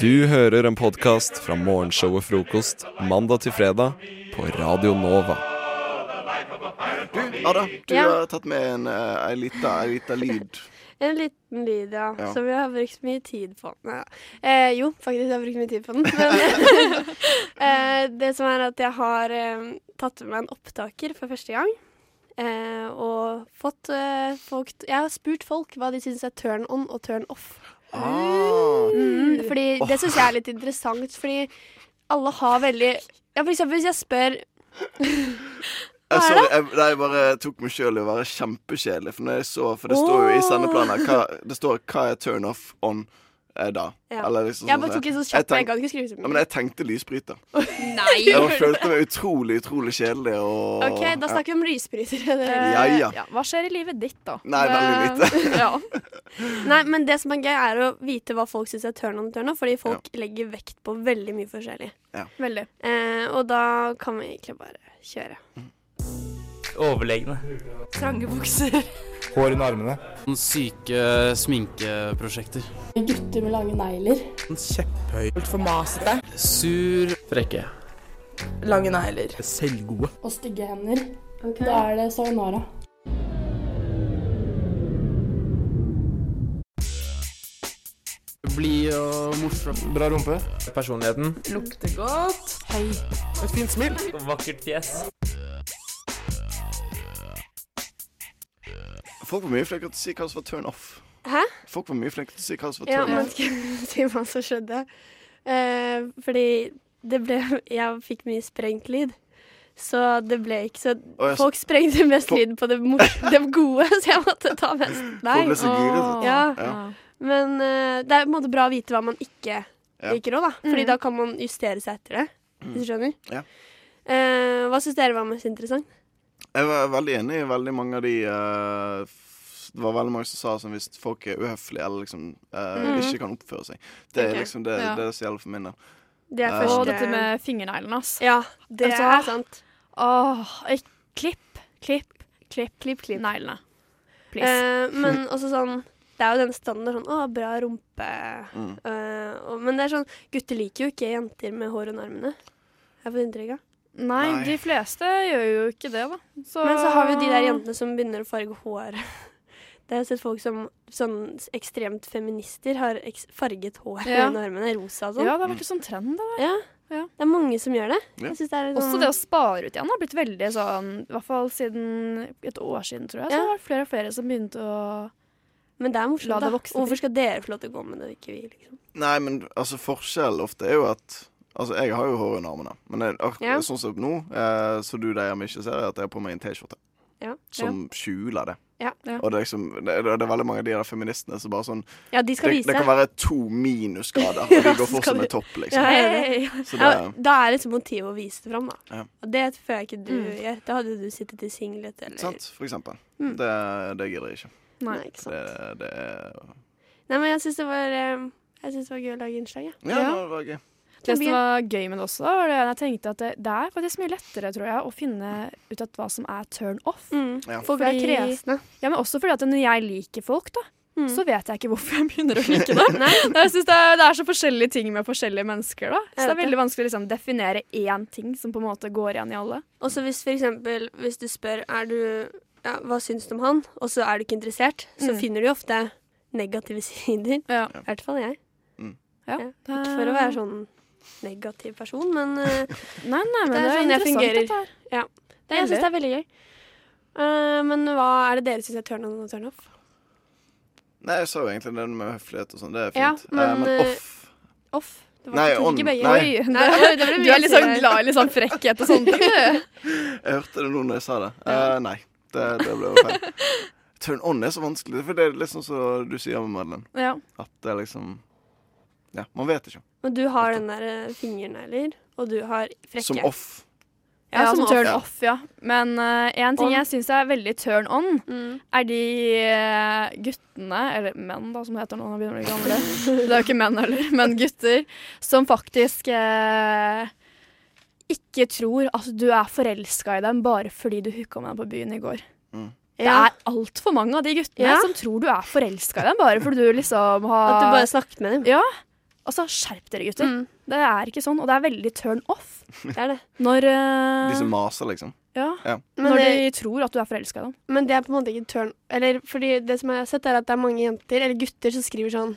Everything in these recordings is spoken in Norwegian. Du hører en podkast fra morgenshow og frokost mandag til fredag på Radio Nova. Du, Ada, du Ja. har tatt med en, eh, en lita, en lita lyd. En liten lyd, ja. Ja. Som jeg har brukt mye tid på. Nei, da. eh, jo, faktisk jeg har brukt mye tid på den. Men eh, det som er at jeg har eh, tatt med meg en opptaker for første gang. Eh, og fått eh, folk t- Jeg har spurt folk hva de syns er turn on og turn off. Ah, Mm, fordi det syns jeg er litt interessant, fordi alle har veldig Ja, for eksempel hvis jeg spør jeg, er sorry, jeg, nei, jeg bare tok meg sjøl i å være kjempekjedelig. For, når jeg så, for det står jo i Åh. sendeplanen hva, det står, hva er turn off on eh, da. Ja. Eller liksom Jeg sånn bare tok der. en sånn Jeg kjapp tenk- Jeg kan ikke skrive så Ja, men mye. jeg tenkte lysbryter. Jeg Nei. bare følte meg utrolig, utrolig kjedelig og OK, da snakker vi om lysbrytere. Det- Ja, ja. Hva skjer i livet ditt, da? Nei, veldig lite. ja. Eh, Nei, men det som er gøy, er å vite hva folk syns er turn on turn off, fordi folk legger vekt på veldig mye forskjellig. Veldig. Eh, og da kan vi egentlig bare kjøre. Overlegne. Trange bukser. Hår under armene. Syke sminkeprosjekter. Kjepphøy. Altfor masete. Sur Frekke. Lange negler. Selvgode. og stygge hender. Da er det sayonara. Blid og morsom. Bra rumpe. Personligheten. Lukter godt. Et fint smil. Vakkert fjes. Folk var mye flinke til å si hva som var turn off. Hæ? Folk var mye flinke til å si hva som var Ja, turn man off. skal si hva som skjedde. Eh, fordi det ble Jeg fikk mye sprengt lyd. Så det ble ikke så Og jeg, Folk sprengte mest Folk- lyd på det, mor- det gode, så jeg måtte ta mest folk deg. ble så giret. Ja, Ja. men eh, det er på en måte bra å vite hva man ikke Ja. Mm. liker òg, da. Fordi da kan man justere seg etter det, hvis du skjønner. Ja. Eh, hva syns dere var mest interessant? Jeg var veldig enig i veldig mange av de eh, f- Det var veldig mange som sa sånn hvis folk er uhøflige eller liksom eh, Mhm. ikke kan oppføre seg. Det er Ok, liksom det, ja. det som gjelder for min del. Det Eh, Og Første- dette med fingerneglene, ass. Ja, det Altså- er sant. Åh, jeg- klipp, klipp, klipp, klipp, klipp. Neglene. Please. Eh, men også sånn Det er jo den standard sånn Å, bra rumpe. Mm. Eh, og, men det er sånn Gutter liker jo ikke jenter med hår under armene. Jeg får inntrykk av. nei, nei. de fleste gjør jo ikke det, da. Men så har vi jo de der jentene som begynner å farge hår. Det har jeg sett folk som sånn ekstremt feminister har eks farget hår Ja. under armene. Rosa og sånn. Ja, det har vært en sånn trend, da. Ja. Ja. Det er mange som gjør det. Ja. Jeg synes det er litt Også sånn- det å spare ut igjen har blitt veldig sånn I hvert fall siden et år siden, tror jeg. Så Ja. har det vært flere og flere som begynte å Men det er La morsomt, det da. vokse til. Hvorfor skal dere få lov til å gå med det, og ikke vi? liksom? Nei, men altså forskjellen ofte er jo at Altså, jeg har jo hår under armene, men jeg, ak- Ja. sånn som nå, eh, så du der hjemme ikke ser, er at jeg har på meg en T-skjorte Ja. som skjuler det. Ja. Ja. Og det er liksom det, det er veldig mange av de der feministene som bare sånn ja, de skal det, vise. det kan være to minusgrader, og de går skal fortsatt du- med topp, ja, liksom. jeg er enig. Så det, ja, da er liksom motivet å vise det fram, da. Ja. Og det føler jeg ikke du Mm. gjør. Da hadde du sittet i singlet eller sant, for eksempel. Mm. Det, det gidder jeg ikke. Nei, ikke sant. Det, det er Nei, men jeg syns det var eh, Jeg synes det var gøy å lage innslag, jeg. Ja, Ja. det var gøy. Det Tobias? som var gøy med det også, var det jeg tenkte at det, det er faktisk mye lettere, tror jeg, å finne ut at hva som er turn off. Ja. Folk Fordi- Mm. er kresne. Ja, men også fordi at når jeg liker folk, da, Mm. så vet jeg ikke hvorfor jeg begynner å like dem. jeg synes det, er, det er så forskjellige ting med forskjellige mennesker, da. Så Jeg det vet er veldig vanskelig å liksom, definere én ting som på en måte går igjen i alle. Og så hvis for eksempel Hvis du spør er du, ja, hva syns du om han, og så er du ikke interessert, så Mm. finner du jo ofte negative sider. Ja. I hvert fall jeg. Mm. Ja. Ja. Ikke for å være sånn negativ person, men eh, Nei, nei, men Det det er er, sånn jeg interessant fungerer. dette her. det, jeg syns det er veldig gøy. Eh, men hva er det dere syns er turn on og turn off? Nei, jeg sa jo egentlig det med høflighet og sånn. Det er Ja, fint. men, Eh, men eh, off Off? Det Nei, ikke- on. ikke begge. Nei. Oi, Nei, det, oi, det ble du mye er litt sånn sider. glad i litt sånn frekkhet og sånt. Jeg hørte det nå når jeg sa det. Eh, nei, det, det ble jo feil. Turn on er så vanskelig, for det er litt sånn som du sier med Madeleine. ja. At det er liksom Ja, man vet ikke. Men du har den der eh, fingernegler, og du har frekke. Som off. Ja, som, off. turn off, ja. Men én ting On. jeg syns er veldig turn on, Mm. er de eh, guttene, eller menn da, som det heter nå når de begynner å bli gamle Det er jo ikke menn heller, men gutter som faktisk eh, ikke tror at du er forelska i dem bare fordi du hooka med dem på byen i går. Mm. Det Ja. er altfor mange av de guttene Ja. som tror du er forelska i dem bare fordi du liksom har At du bare snakket med dem. Ja. Altså, skjerp dere, gutter. Det er ikke sånn, og det er veldig turn off Det er det. når, eh, De som maser, liksom. ja, Men når det, de tror at du er forelska i dem. men det er på en måte ikke turn Eller fordi det som jeg har sett, er at det er mange jenter, eller gutter, som skriver sånn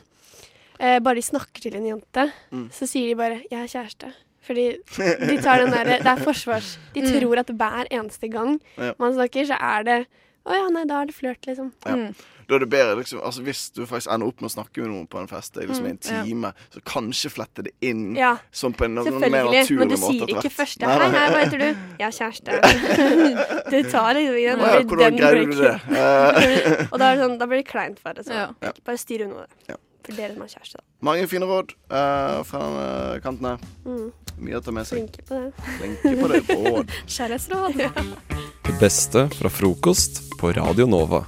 eh, Bare de snakker til en jente, Mm. så sier de bare 'jeg er kjæreste'. Fordi de tar den derre Det er forsvars... De Mm. tror at hver eneste gang Ja. man snakker, så er det 'Å ja, nei, da er det flørt', liksom. Ja. Mm. Da er det bedre, liksom, altså Hvis du faktisk ender opp med å snakke med noen på en fest i liksom, en ja. time, så kanskje flette det inn Mm, Ja, sånn på en noe mer selvfølgelig. naturlig Men du måte. sier etter ikke hvert. først Nei, 'Hei, nei. hei, hva heter du?' 'Jeg er kjæreste'. du tar liksom ikke den Å ja, den hvordan greide du breaken. det? Eh, og da, er det sånn, da blir det kleint for deg. Så. Ja. Ja. Ikke bare styr unna det. Ja. For dere som har kjæreste. Da. mange fine råd eh, fra eh, kanten her. Mm. Mye å ta med seg. Flinke på det. Flinke på det råd. Kjærlighetsråd. Det beste fra frokost på Radio Nova.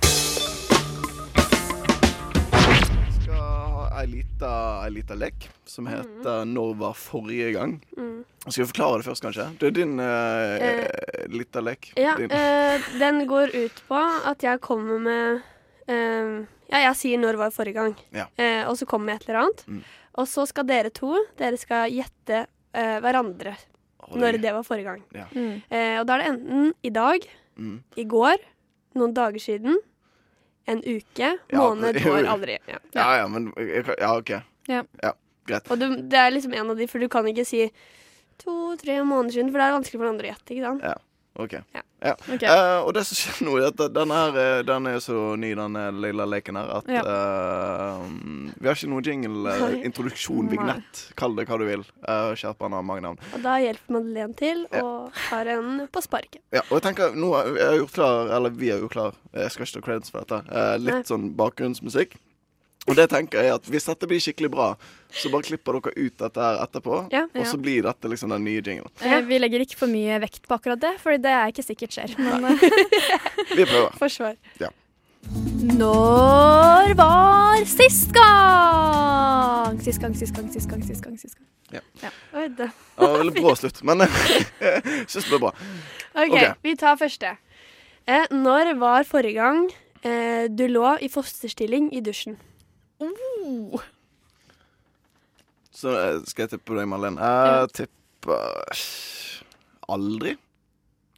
Vi skal ha ei lita, ei lita lek som heter Mm-hmm. 'Når var forrige gang'. Mm. Skal vi forklare det først, kanskje? Det er din eh, Eh, lita lek. Ja, din. eh, den går ut på at jeg kommer med eh, Ja, jeg sier når var forrige gang, Ja. eh, og så kommer jeg et eller annet. Mm. Og så skal dere to Dere skal gjette eh, hverandre Oi. når det var forrige gang. Mm. Eh, og da er det enten i dag, Mm. i går, noen dager siden, en uke, måned, jo, jo. år, aldri. Ja. Ja, ja, men jeg kan- Ja, OK. Ja. Greit. Og du, det er liksom en av de, for du kan ikke si to-tre måneder siden, for det er vanskelig for den andre å gjette. ikke sant? OK. Ok. Eh, og det som skjer nå, er at denne her, eh, den er så ny, den eh, lille leken her, at Ja. eh, Vi har ikke noe jingle, eh, Nei. introduksjon, Nei. vignett. Kall det hva du vil. Eh, Skjerp han har mange navn. Og da hjelper Madeleine til og har en på sparket. Ja, og jeg tenker, nå har jeg har gjort klar, eller vi har gjort klar, jeg skal ikke ta credits for dette, eh, litt Nei. sånn bakgrunnsmusikk. Og det tenker jeg at hvis dette blir skikkelig bra, så bare klipper dere ut dette her etterpå, Ja. og så blir dette liksom den nye jinglen. Eh, Vi legger ikke for mye vekt på akkurat det, for det er ikke sikkert skjer. Men eh, Vi prøver. Forsvar. når var sist gang? Sist gang, sist gang, sist gang. sist gang, sist gang. Oi, da. Det var veldig brå slutt, men synes det ble bra. OK, Ok. vi tar første. Eh, når var forrige gang eh, du lå i fosterstilling i dusjen? Oh! Så eh, skal jeg tippe på deg, Marlene. Jeg tipper aldri,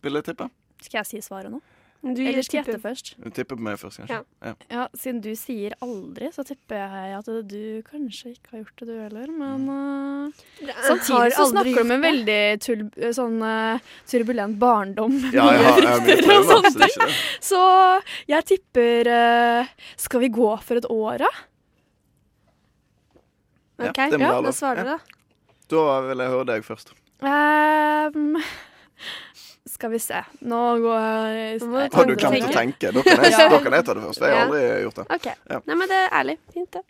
vil jeg tippe. Skal jeg si svaret nå? Du Eller gir skal jeg tippe. gjette først? Du tipper på meg først, kanskje. Ja. Ja, Siden du sier aldri, så tipper jeg at du kanskje ikke har gjort det, du heller. Men Mm. eh, Har samtidig så aldri snakker du om gjort en veldig tul sånn, eh, turbulent barndom. Ja, jeg har, jeg har mye og traumer, sånne så det ting. er ikke det. Så jeg tipper eh, Skal vi gå for et år, da? Ja, OK, det må ja, være lov. da svarer du, da. Ja. Da vil jeg høre deg først. Ehm, skal vi se. Nå går Nå må Har du glemt Tenke. å tenke? Da kan jeg, Ja. da kan jeg ta det først. Jeg har Ja. aldri gjort det. OK. Ja. Nei, men det er ærlig. Fint, det.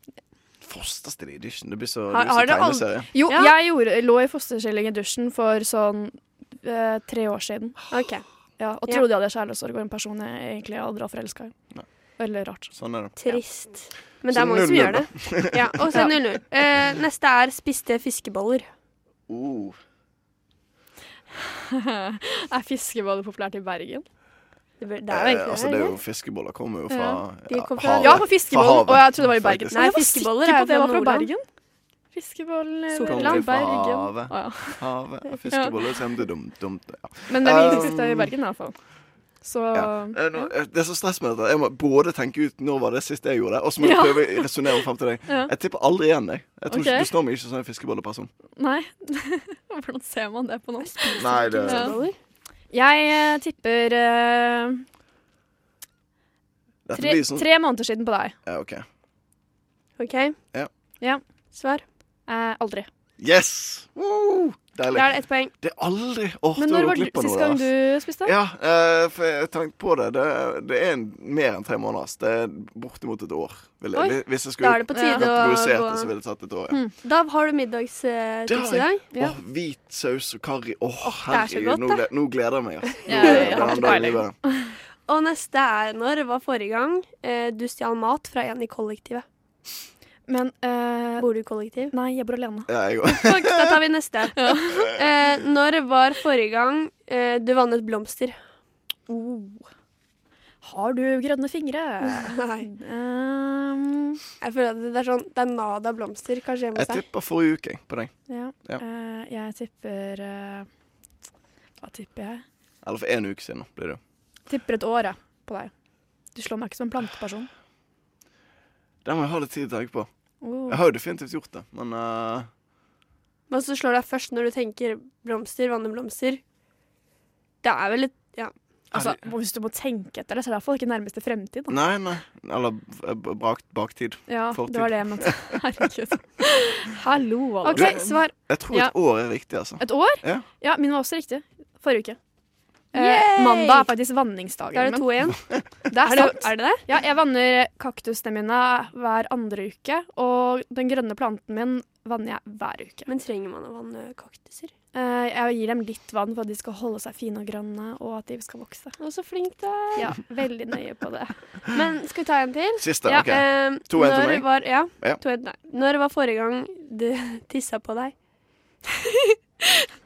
Fosterstilling i dusjen. Det blir så, Har- det blir har så dere aldri- tegneserie. Eh, Jo, Ja. jeg gjorde, lå i fosterstilling i dusjen for sånn eh, tre år siden. OK. Ja, og Ja. trodde jeg hadde kjærlighetssorg og en person jeg egentlig aldri har forelska i. Nei. Veldig rart. Sånn er det. Trist. Men Så det er mange som 0-0 gjør det. Ja, Og så Ja. 0-0. Eh, neste er spiste fiskeboller. Oh. Er fiskeboller populært i Bergen? Det, bør, det er jo Eh, egentlig altså, det. det er jo ikke? fiskeboller kommer jo fra de ja, kom fra- havet. Ja, for fiskeboller. havet, Og jeg trodde det var i Bergen. faktisk. Men jeg var Fiskeboller sikker er på at det fra var fra Nordland. Bergen. Fiskeboller Kommer fra fra Bergen. havet. Å, ja. Havet og fiskeboller så er det dumt, dumt. Ja. Men det Um, viktigste er i Bergen, i hvert fall. Så Ja. Eh, nå, eh, Det er så stress med dette. Jeg må både tenke ut når var det sist jeg gjorde det, og så må jeg Ja. prøve å resonnere frem til deg. Ja. Jeg tipper aldri igjen deg. Jeg tror Ok. ikke, Du står meg ikke som en fiskebolleperson. Nei. Hvordan ser man det på noen? Nei, det Ja. Fiskeboller? Jeg eh, tipper eh, Dette tre, blir sånn tre måneder siden på deg. ja, OK. OK. Ja. Ja. Svar. Eh, aldri. Yes! Woo! Da Deilig. er det ett poeng. Det er aldri Åh, Men da når går var glipp av du- sist noe der, gang ass. du spiste? Ja, eh, for jeg tenkte på det. Det, det er en, mer enn tre måneder. ass. Det er bortimot et år. Vil jeg, Oi, hvis jeg Da skulle er det på Ja. tide kategorisert å det, så gå ville det tatt et år. Ja. Hmm. Mm. Da har du middagstips i dag. Ja. Åh, hvit saus og karri. Åh, er så herregud, godt, nå, da. gle- nå gleder jeg meg. ass. Nå Ja, jeg gleder jeg har meg den ikke dagen i peiling. livet. Og neste er når var forrige gang eh, du stjal mat fra en i kollektivet? Men eh, Bor du i kollektiv? Nei, jeg bor alene. Ja, jeg òg. Fuck, da tar vi neste. Eh, når var forrige gang eh, du vannet blomster? Har du Oh. grønne fingre? Nei. Eh, Um, jeg føler at det er sånn Det er nada blomster, kanskje hjemme Jeg hos deg. tippa forrige uke jeg, på deg. Ja. Ja. Eh, jeg tipper eh, Hva tipper jeg? Eller for en uke siden. nå blir det jo. Tipper et år, jeg, på deg. Du slår meg ikke som en planteperson. Det må jeg ha litt tid til å tenke på. Oh. Jeg har jo definitivt gjort det, men eh, Men så slår det deg først når du tenker blomster, vanneblomster. Det er vel litt Ja. Altså, hvis du må tenke etter det, så er det iallfall ikke nærmeste fremtid. Da. Nei, nei. Eller b- b- bak, baktid. Ja, fortid. det var det jeg mente. Herregud. Hallo, alle. OK, svar. Jeg tror Ja. et år er riktig, altså. Et år? Ja. min var også riktig. Forrige uke. Eh, Yay! mandag er faktisk Da er vanningsdagen det min. to igjen. Det er Er det, sant. er det det? Ja, jeg vanner kaktusene mine hver andre uke, og den grønne planten min vanner jeg hver uke. Men trenger man å vanne kaktuser? Eh, jeg gir dem litt vann for at de skal holde seg fine og grønne, og at de skal vokse. Å, så flink du er. Ja, veldig nøye på det. Men skal vi ta en til? Siste. ja, OK. eh, To en til når meg. Var, ja, Ja. To en, til deg. Når var forrige gang du tissa på deg?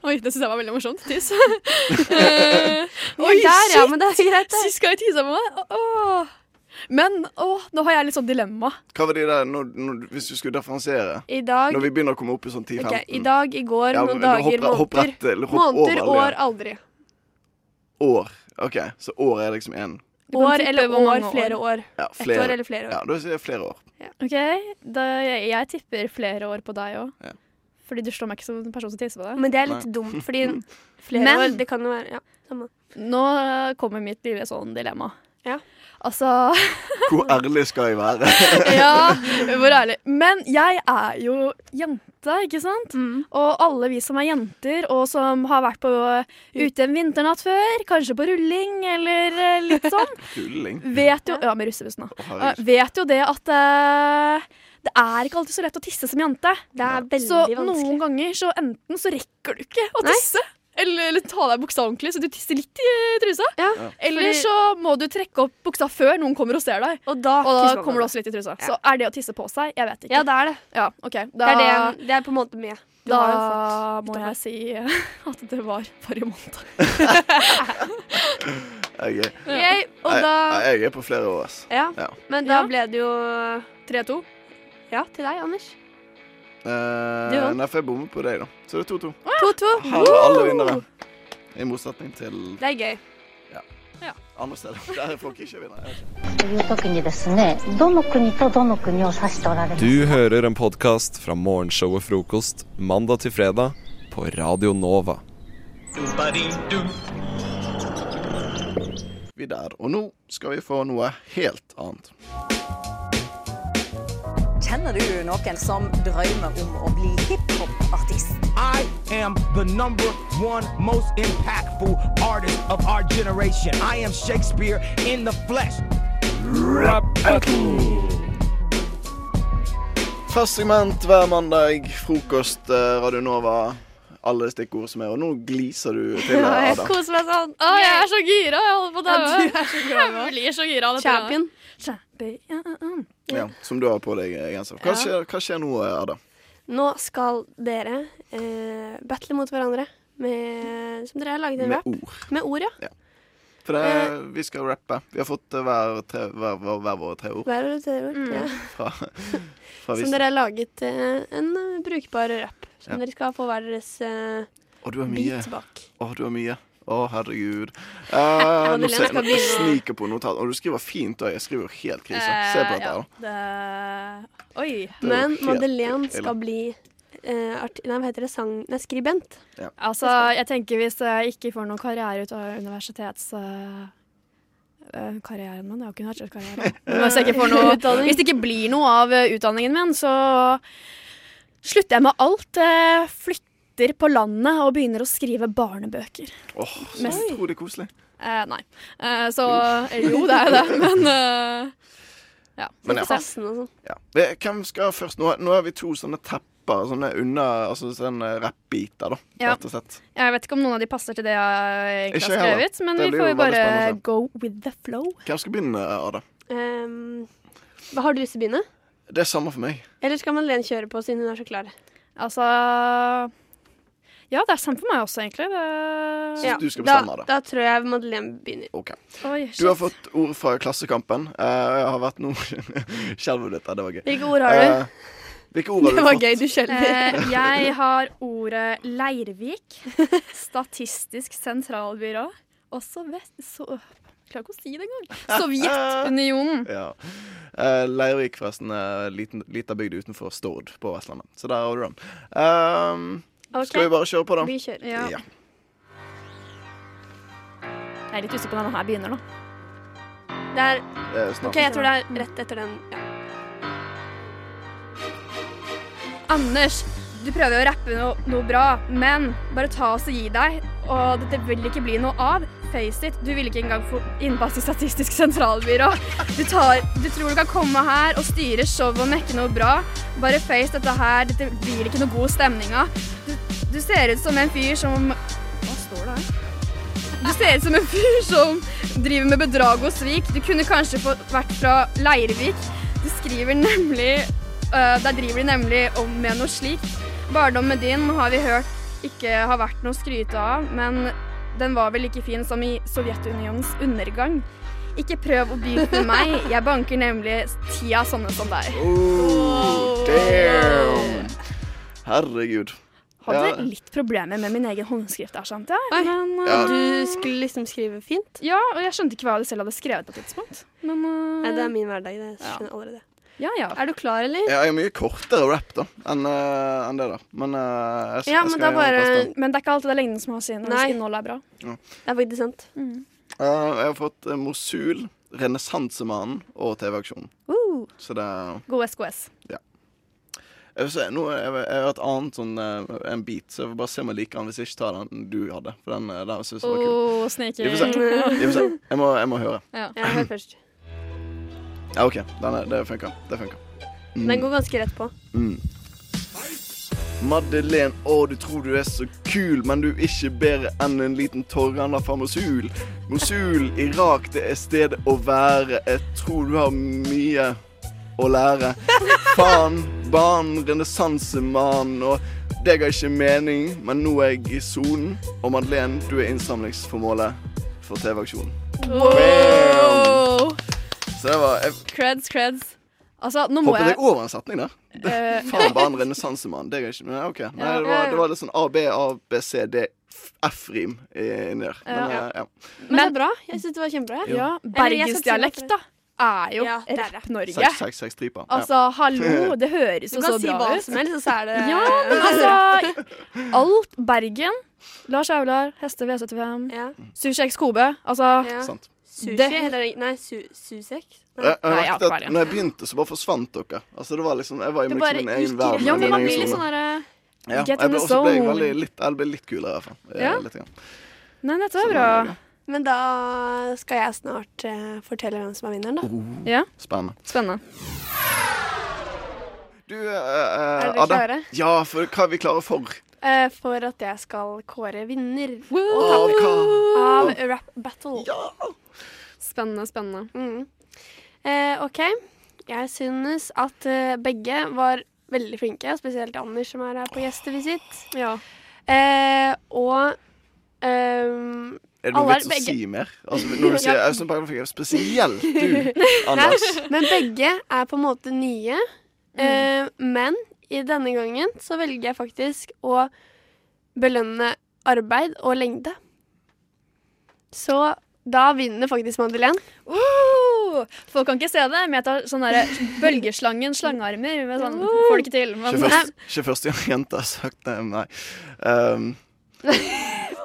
Oi, det syns jeg var veldig morsomt. Tiss. Eh, Oi, der, ja, men det er greit. det. Sist gang jeg tissa på meg. Å, å. Men å, nå har jeg litt sånn dilemma. Hva var de der når, når, Hvis du skulle differensiere I dag, Når vi begynner å komme opp i sånn 10-15 ok, i dag, i går, Ja, men noen du dager, hopper- hopper måneder. rett til- hopper Måneder, over alle år, aldri. de. År. OK, så år er liksom én. kan År tippe eller hvor mange år, år. flere år. Ja, Ett år flere. eller flere år. Ja, da sier jeg flere år. Ok, da, jeg, jeg tipper flere år på deg òg. Ja. Fordi du slår meg ikke som en person som tisser på deg. Men det er litt dumt, fordi flere Men- år, det kan jo være ja, samme. Nå kommer mitt lille sånn dilemma. Ja. Altså Hvor ærlig skal jeg være? Ja, hvor ærlig. Men jeg er jo jente, ikke sant? Mm. Og alle vi som er jenter, og som har vært på ute en vinternatt før, kanskje på rulling eller eh, litt sånn, Tulling. vet jo Ja, med russebussen, da. Å, Eh, herregud. Vet jo det at eh, det er ikke alltid så lett å tisse som jente. Det er veldig Så vanskelig. noen ganger så enten så rekker du ikke å Nei. tisse. Eller, eller ta av deg buksa ordentlig, så du tisser litt i trusa. Ja, Eller fordi- så må du trekke opp buksa før noen kommer og ser deg. Og da, Og da tisser man kommer det på også litt i trusa. Ja. Så er det å tisse på seg? Jeg vet det. ikke. Ja, det er det. Ja, ok. Da, Det er, det, det er på en måte med. Du da har jo fått må utover. jeg si at det var forrige måned. Jeg er, Yay, og jeg, da jeg er på flere år, ass. ja, Ja. Men da Ja. ble det jo 3-2. Ja, til deg, Anders. Eh, Du vant. nei, for jeg bommer på deg, da. Så det er 2-2. 2-2. Her er alle vinnere. I motsetning til Det er gøy. andre steder. Der er folk ikke vinnere. という時にですねどの国とどの国を指しておられる Du hører en podkast fra morgenshow og frokost mandag til fredag på Radio Nova. Vi der. Og nå skal vi få noe helt annet. Kjenner du noen som drømmer om å bli hiphop-artist? I am the number one most impactful artist of our generation. I am Shakespeare in the flesh. Fast segment hver mandag. Frokost, eh, Radio Nova. Alle stikkord som er. Og nå gliser du til, Ja, jeg Ada. koser meg sånn. Å, jeg er så gira! Jeg holder på å daue. Ja, du er så glad i meg. Jeg blir så gira. av dette. Champion. Champion. Ja, som du har på deg eh, genser. Hva skjer, hva skjer nå, eh, Ada? Nå skal dere eh, battle mot hverandre med Som dere har laget en Med rap. ord. Med ord, ja. For det, Eh, er- vi skal rappe. Vi har fått eh, hver, tre, hver, hver, hver våre tre ord Hver og tre ord. Mm. Ja. fra, Som fra avisen. dere har laget eh, en eh, brukbar rap. Som Ja. dere skal få hver deres eh, Å, du har mye. bit bak. Å, du har mye. Å, herregud. Eh, Madeleine nå ser jeg skal nå jeg begynne å- sniker på notat. Og du skriver fint, og jeg skriver jo helt krise. Se Eh, på dette. ja, her, da. det... Oi. Det er jo Men helt Madeleine ille. skal bli eh, art... Nei, hva heter det? Sang... Nei, skribent. Altså, jeg tenker hvis jeg ikke får noen karriere ut av universitets... eh, eh, karrieren min, jeg har ikke universitetskarriere. Men Hvis, jeg ikke får noe, hvis det ikke blir noe av eh, utdanningen min, så slutter jeg med alt. eh, Flytter på landet og begynner å skrive barnebøker. Åh, så Mest- utrolig koselig. Eh, nei. Eh, så Jo, det er jo det, men eh, ja. Men ja. Passende og sånn. Ja. Det, hvem skal først? Nå, nå har vi to sånne tepper, sånne under Altså sånne rappbiter, da, Ja. rett og slett. Jeg vet ikke om noen av de passer til det jeg egentlig Ikke har jeg heller. skrevet, men Det vi blir får jo jo veldig bare spennende å se. go with the flow. Hvem skal begynne, Ada? Ehm, hva har du lyst til å begynne? Det er samme for meg. Eller skal Madeleine kjøre på siden hun er så klar? Altså Ja, det er sant for meg også, egentlig. Det... Så Ja, du skal da, bestemme det. da tror jeg Madeleine begynner. Ok. Oi, shit. Du har fått ord fra Klassekampen. eh, og jeg har vært noe Skjelver litt. Det var gøy. Hvilke ord har du? Eh, hvilke ord har du fått? du skjelver. Eh, jeg har ordet Leirvik, Statistisk sentralbyrå, og Sovjet... Så, jeg klarer ikke å si det engang. Sovjetunionen. Ja. Eh, Leirvik, forresten, er liten, lita bygd utenfor Stord på Vestlandet. Så der har du den. Ehm, Ok, Skal vi bare kjøre på, da? vi kjører. Ja. Ja. Jeg er litt usikker på når den her begynner, da. Det er, Det er snart. ok, jeg tror det er rett etter den. Ja. Anders, du prøver jo å rappe no, noe bra, men bare ta oss og gi deg. Og dette vil ikke bli noe av. Face it, du vil ikke engang få innpass i Statistisk sentralbyrå. Du, tar, du tror du kan komme her og styre showet og mekke noe bra. Bare face dette her, dette blir ikke noe god stemning av. Du, du ser ut som en fyr som Hva står det her? Du ser ut som en fyr som driver med bedrag og svik. Du kunne kanskje fått vært fra Leirvik. Du skriver nemlig Eh, Der driver de nemlig om med noe slikt. Barndommen din har vi hørt ikke har vært noe å skryte av, men den var vel like fin som i Sovjetunionens undergang. Ikke prøv å bytte meg, jeg banker nemlig sånn ti av sånne som deg. Oh, damn! Herregud. Hadde Ja. litt problemer med min egen håndskrift der, skjønte jeg. Oi. Men, eh, Ja. Du skulle liksom skrive fint. ja, og jeg skjønte ikke hva jeg selv hadde skrevet på et tidspunkt. Men eh, Nei, det er min hverdag. Det skjønner jeg allerede. ja, ja. Er du klar, eller? Ja, jeg er mye kortere rap da enn eh, enn det der. Men eh, jeg, s- Ja, jeg men skal da gjøre mitt bare beste. Men det er ikke alltid det er lengden som har sin, Nei. hvis innholdet er bra. Mm. Det er faktisk sant. Eh, Jeg har fått eh, Mosul, Renessansemannen og TV-aksjonen. Woo. Så det er God SKS. jeg vil se, nå, er jeg, jeg har et annet sånn eh, en beat, så jeg får bare se om jeg liker den hvis jeg ikke tar den du hadde. For den eh, der synes jeg var kul. Oh, Vi sneaking. får se. Vi får se. Jeg må, jeg må høre. Ja. Jeg hører først. Ja, OK. Den er, det funker. Det funker. Den går ganske rett på. Mm. Madeleine, å du tror du er så kul, men du er ikke bedre enn en liten torganer fra Mosul. Mosul, Irak, det er stedet å være. Jeg tror du har mye å lære. Faen, barn, renessansemann og deg har ikke mening, men nå er jeg i sonen. Og Madeleine, du er innsamlingsformålet for TV-aksjonen. Bam! Så det var Jeg Creds, creds. Altså, nå må hoppet jeg jeg over en setning der. eh, Faen, bare en renessansemann. Det er ikke Nei, OK. Nei, det, var, det var litt sånn A, B, A, B, C, D, F- F-rim i- inni der. Men, Ja. eh, ja. Men, det er bra. Jeg syns det var kjempebra. jeg. Ja, jeg skal si Bergensdialekt, hva da, er jo Ja, det er det. Rapp-Norge. Seks, seks, seks striper. Altså, hallo, det høres Du jo så kan si bra hva ut. som helst, og så er det Ja, men altså Alt Bergen. Lars Aular, Heste V75, Ja. Sushi X Kobe. Altså ja. ja. Sant. Sushi Det- heter det Nei, su Susek. Jeg, jeg, Nei, Eh, merket akvarie. at når jeg begynte, så bare forsvant dere. Altså, det var liksom, jeg var i Det liksom bare min egen gikk verden. Ja, men min man egen blir litt sone. sånn derre ja. get jeg in ble- the også ble jeg zone. veldig litt, jeg ble litt kulere, i hvert fall. Eh, Ja. Litt grann. Nei, dette var bra. sånn- Men da skal jeg snart eh, fortelle hvem som er vinneren, da. Ja, Oh, Spennende. spennende. Du, eh, eh, Er dere Ada. klare? Ja, for hva er vi klare for? Eh, for at jeg skal kåre vinner Av hva? av Rap Battle. Spennende, spennende. Mm. Eh, OK. Jeg synes at eh, begge var veldig flinke, spesielt Anders som er her på gjestevisitt. Ja. Eh, og ehm, Er det Alle noe er vits å begge- si mer? Altså, når du sier Øystein Bergen fikk det spesielt du, Anders. Men begge er på en måte nye. Mm. Eh, men i denne gangen så velger jeg faktisk å belønne arbeid og lengde. Så da vinner faktisk Madeleine. Uh, folk kan ikke se det, men jeg tar sånn derre bølgeslangen, slangearmer. Med sånn, Uh! får det ikke til. Men Ikke først, ikke først gang jenter har sagt det. Nei. Ehm,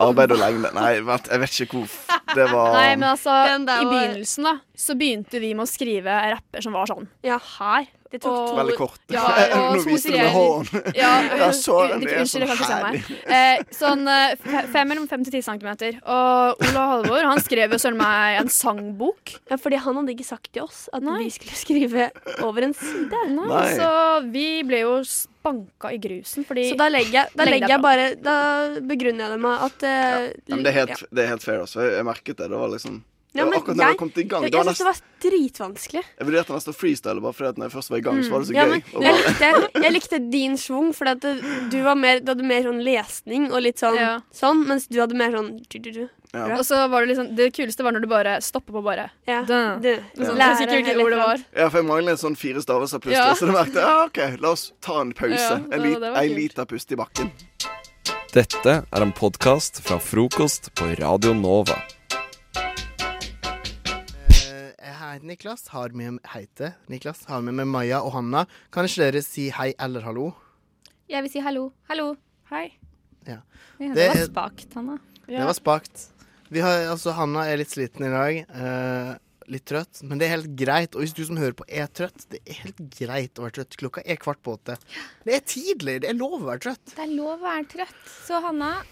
arbeid og lengde Nei, vent, jeg vet ikke hvor f- Det var Nei, men altså, Den der i var- begynnelsen da, så begynte vi med å skrive rapper som var sånn. Ja. Her. Det tok Og- to veldig kort. altså, Ja, og Nå to viste du med serier. hånden. Ja, Ja, så u- den, det er Unnskyld, jeg kan sånn ikke se meg. Eh, sånn eh, fe- fem mellom fem til ti centimeter. Og Ola Halvor han skrev jo søren meg en sangbok. Ja, fordi han hadde ikke sagt til oss at Nei. vi skulle skrive over en side. Nei, Nei. Så vi ble jo spanka i grusen fordi Så da legger jeg, Lengde da er legger jeg bra. bare Da begrunner jeg det med at eh, Ja, men det er ja. helt, det er helt fair, altså. Jeg jeg merket det. Det var liksom Det var men akkurat når jeg jeg- kom til i gang. Jeg, Det jeg var syntes det nesten, var dritvanskelig. jeg vurderte nesten å freestyle bare fordi at når jeg først var i gang, så var Mm, det så Ja, gøy. men å jeg, bare- likte, jeg likte din schwung, for at det- du, var mer, du hadde mer sånn lesning og litt sånn, Ja. sånn mens du hadde mer sånn du, du, du. Ja. Og så var det liksom Det kuleste var når du bare stoppa på bare Ja. Dø. Du, Sånn, lære Jeg husker ikke hele hvilket ord det front. var. Ja, for jeg mangler en sånn fire stavelser puste, Ja. så det merket jeg. Ja, OK, la oss ta en pause. Ja, en det- lit, det var en kult. liter pust i bakken. Dette er en podkast fra frokost på Radio Nova. Jeg heter Eh, Niklas, har med, heter Niklas, har med meg Maja og Hanna. Kan ikke dere si hei eller hallo? Jeg vil si hallo. Hallo. Hei. Ja. Ja, det, Det var er- spakt, Hanna. Det var spakt. Vi har, altså, Hanna er litt sliten i dag. eh, litt trøtt, men det er helt greit. Og hvis du som hører på er trøtt, det er helt greit å være trøtt. Klokka er kvart på åtte. Det er tidlig. Det er lov å være trøtt. Det er lov å være trøtt. Så Hanna,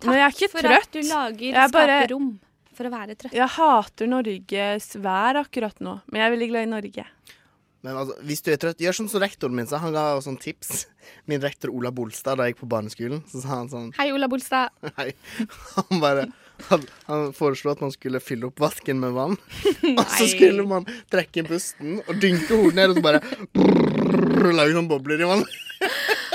takk Men jeg er ikke for trøtt. at du lager Jeg er bare- skaper rom for å være trøtt. Jeg hater Norges vær akkurat nå, men jeg er veldig glad i Norge. Men altså, hvis du er trøtt, gjør sånn som rektoren min sa. Han ga oss sånn tips. Min rektor Ola Bolstad da jeg gikk på barneskolen, så sa han sånn Hei, Ola Bolstad. Hei. Han bare han, han foreslo at man skulle fylle opp vasken med vann. Og så skulle man trekke inn pusten og dynke hodet ned, og så bare brrr, lage sånn bobler i vann.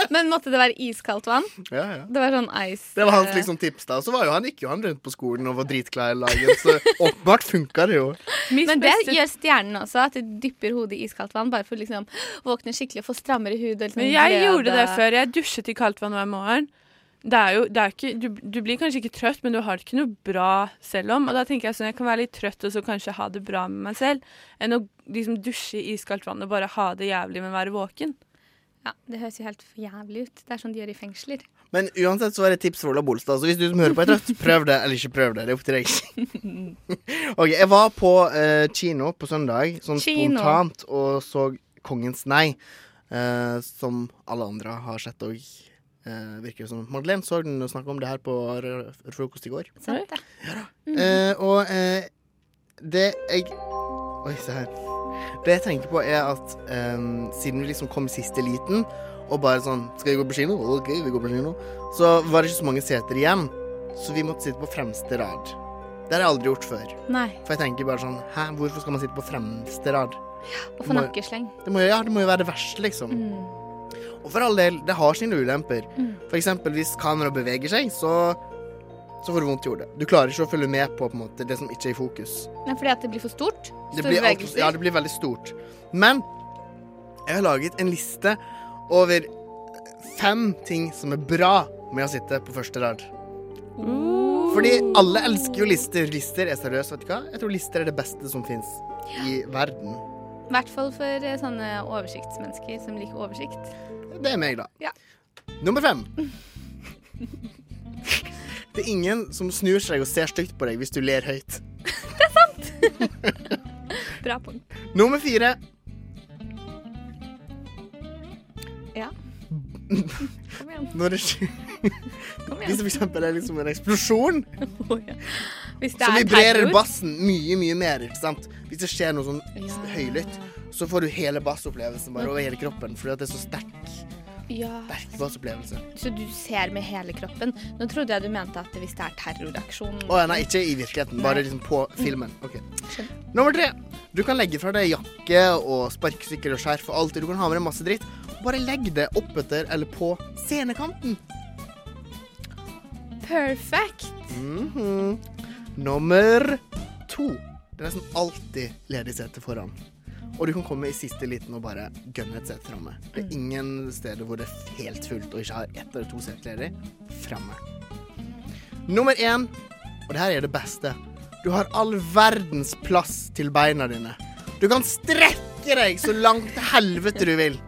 Men måtte det være iskaldt vann? Ja, ja. Det var sånn ice Det var eh, hans liksom tips, da. Og så var jo han, gikk jo han rundt på skolen og var dritklar hele dagen, så åpenbart funka det jo. Men det beste- gjør stjernen også, at du dypper hodet i iskaldt vann bare for å liksom våkne skikkelig og få strammere hud. Og liksom Men jeg glød gjorde det og- før. Jeg dusjet i kaldt vann hver morgen. Det er jo, det er ikke, du, du blir kanskje ikke trøtt, men du har det ikke noe bra selv om. Og da tenker jeg sånn, jeg kan være litt trøtt og så kanskje ha det bra med meg selv, enn å liksom dusje i iskaldt vann og bare ha det jævlig, men være våken. Ja, det høres jo helt for jævlig ut. Det er sånn de gjør i fengsler. Men uansett så var det et tips fra Ola Bolstad, så hvis du som hører på er trøtt, prøv det, eller ikke prøv det. Det er opp til deg. Ok, Jeg var på eh, kino på søndag, sånn Kino. spontant, og så Kongens nei. eh, som alle andre har sett òg. Uh, virker det som Madeleine så den og snakka om det her på r- r- frokost i går. Sant det. Eh, og eh, det jeg Oi, se her. Det jeg tenker på, er at eh, siden vi liksom kom i siste liten, og bare sånn Skal vi gå på kino? OK, vi går på kino. Så var det ikke så mange seter igjen, så vi måtte sitte på fremste rad. Det har jeg aldri gjort før. Nei. For jeg tenker bare sånn Hæ, hvorfor skal man sitte på fremste rad? Og få Må- nakkesleng. Det må, jo- ja, det må jo være det verste, liksom. Og for all del, det har sine ulemper. Mm. For eksempel hvis kameraet beveger seg, så, så får du vondt i hodet. Du klarer ikke å følge med på, på en måte, det som ikke er i fokus. Nei, fordi at det blir for stort. Det Store blir, alt, bevegelser. ja, det blir veldig stort. Men jeg har laget en liste over fem ting som er bra med å sitte på første rad. Fordi alle elsker jo lister. Lister er seriøst, vet du hva? Jeg tror lister er det beste som fins i verden. I hvert fall for eh, sånne oversiktsmennesker som liker oversikt. Det er meg, da. Ja. Nummer fem. Det er ingen som snur seg og ser stygt på deg hvis du ler høyt. Bra poeng. Nummer fire. Ja. Kom igjen. Når det skjer Kom igjen. Hvis det for eksempel er liksom en eksplosjon, Hvis det så er vibrerer terror. bassen mye, mye mer. ikke sant? Hvis det skjer noe sånn Ja. høylytt, så får du hele bassopplevelsen bare over hele kroppen fordi at det er så sterk Ja. bassopplevelse. Så du ser med hele kroppen. Nå trodde jeg du mente at hvis det er terroraksjon Å ja, nei, ikke i virkeligheten, bare liksom på filmen. Ok. Skjønner. Nummer tre. Du kan legge fra deg jakke og sparkesykkel og skjerf og alt. Du kan ha med deg masse dritt. Bare legg det oppetter eller på scenekanten. Perfect! Mhm. Nummer to. Det er nesten alltid ledig sete foran. Og du kan komme i siste liten og bare gønne et sete framme. Det er ingen steder hvor det er helt fullt og ikke har ett eller to sett ledig. Framme. Nummer én, og det her er det beste. Du har all verdens plass til beina dine. Du kan strekke deg så langt til helvete du vil.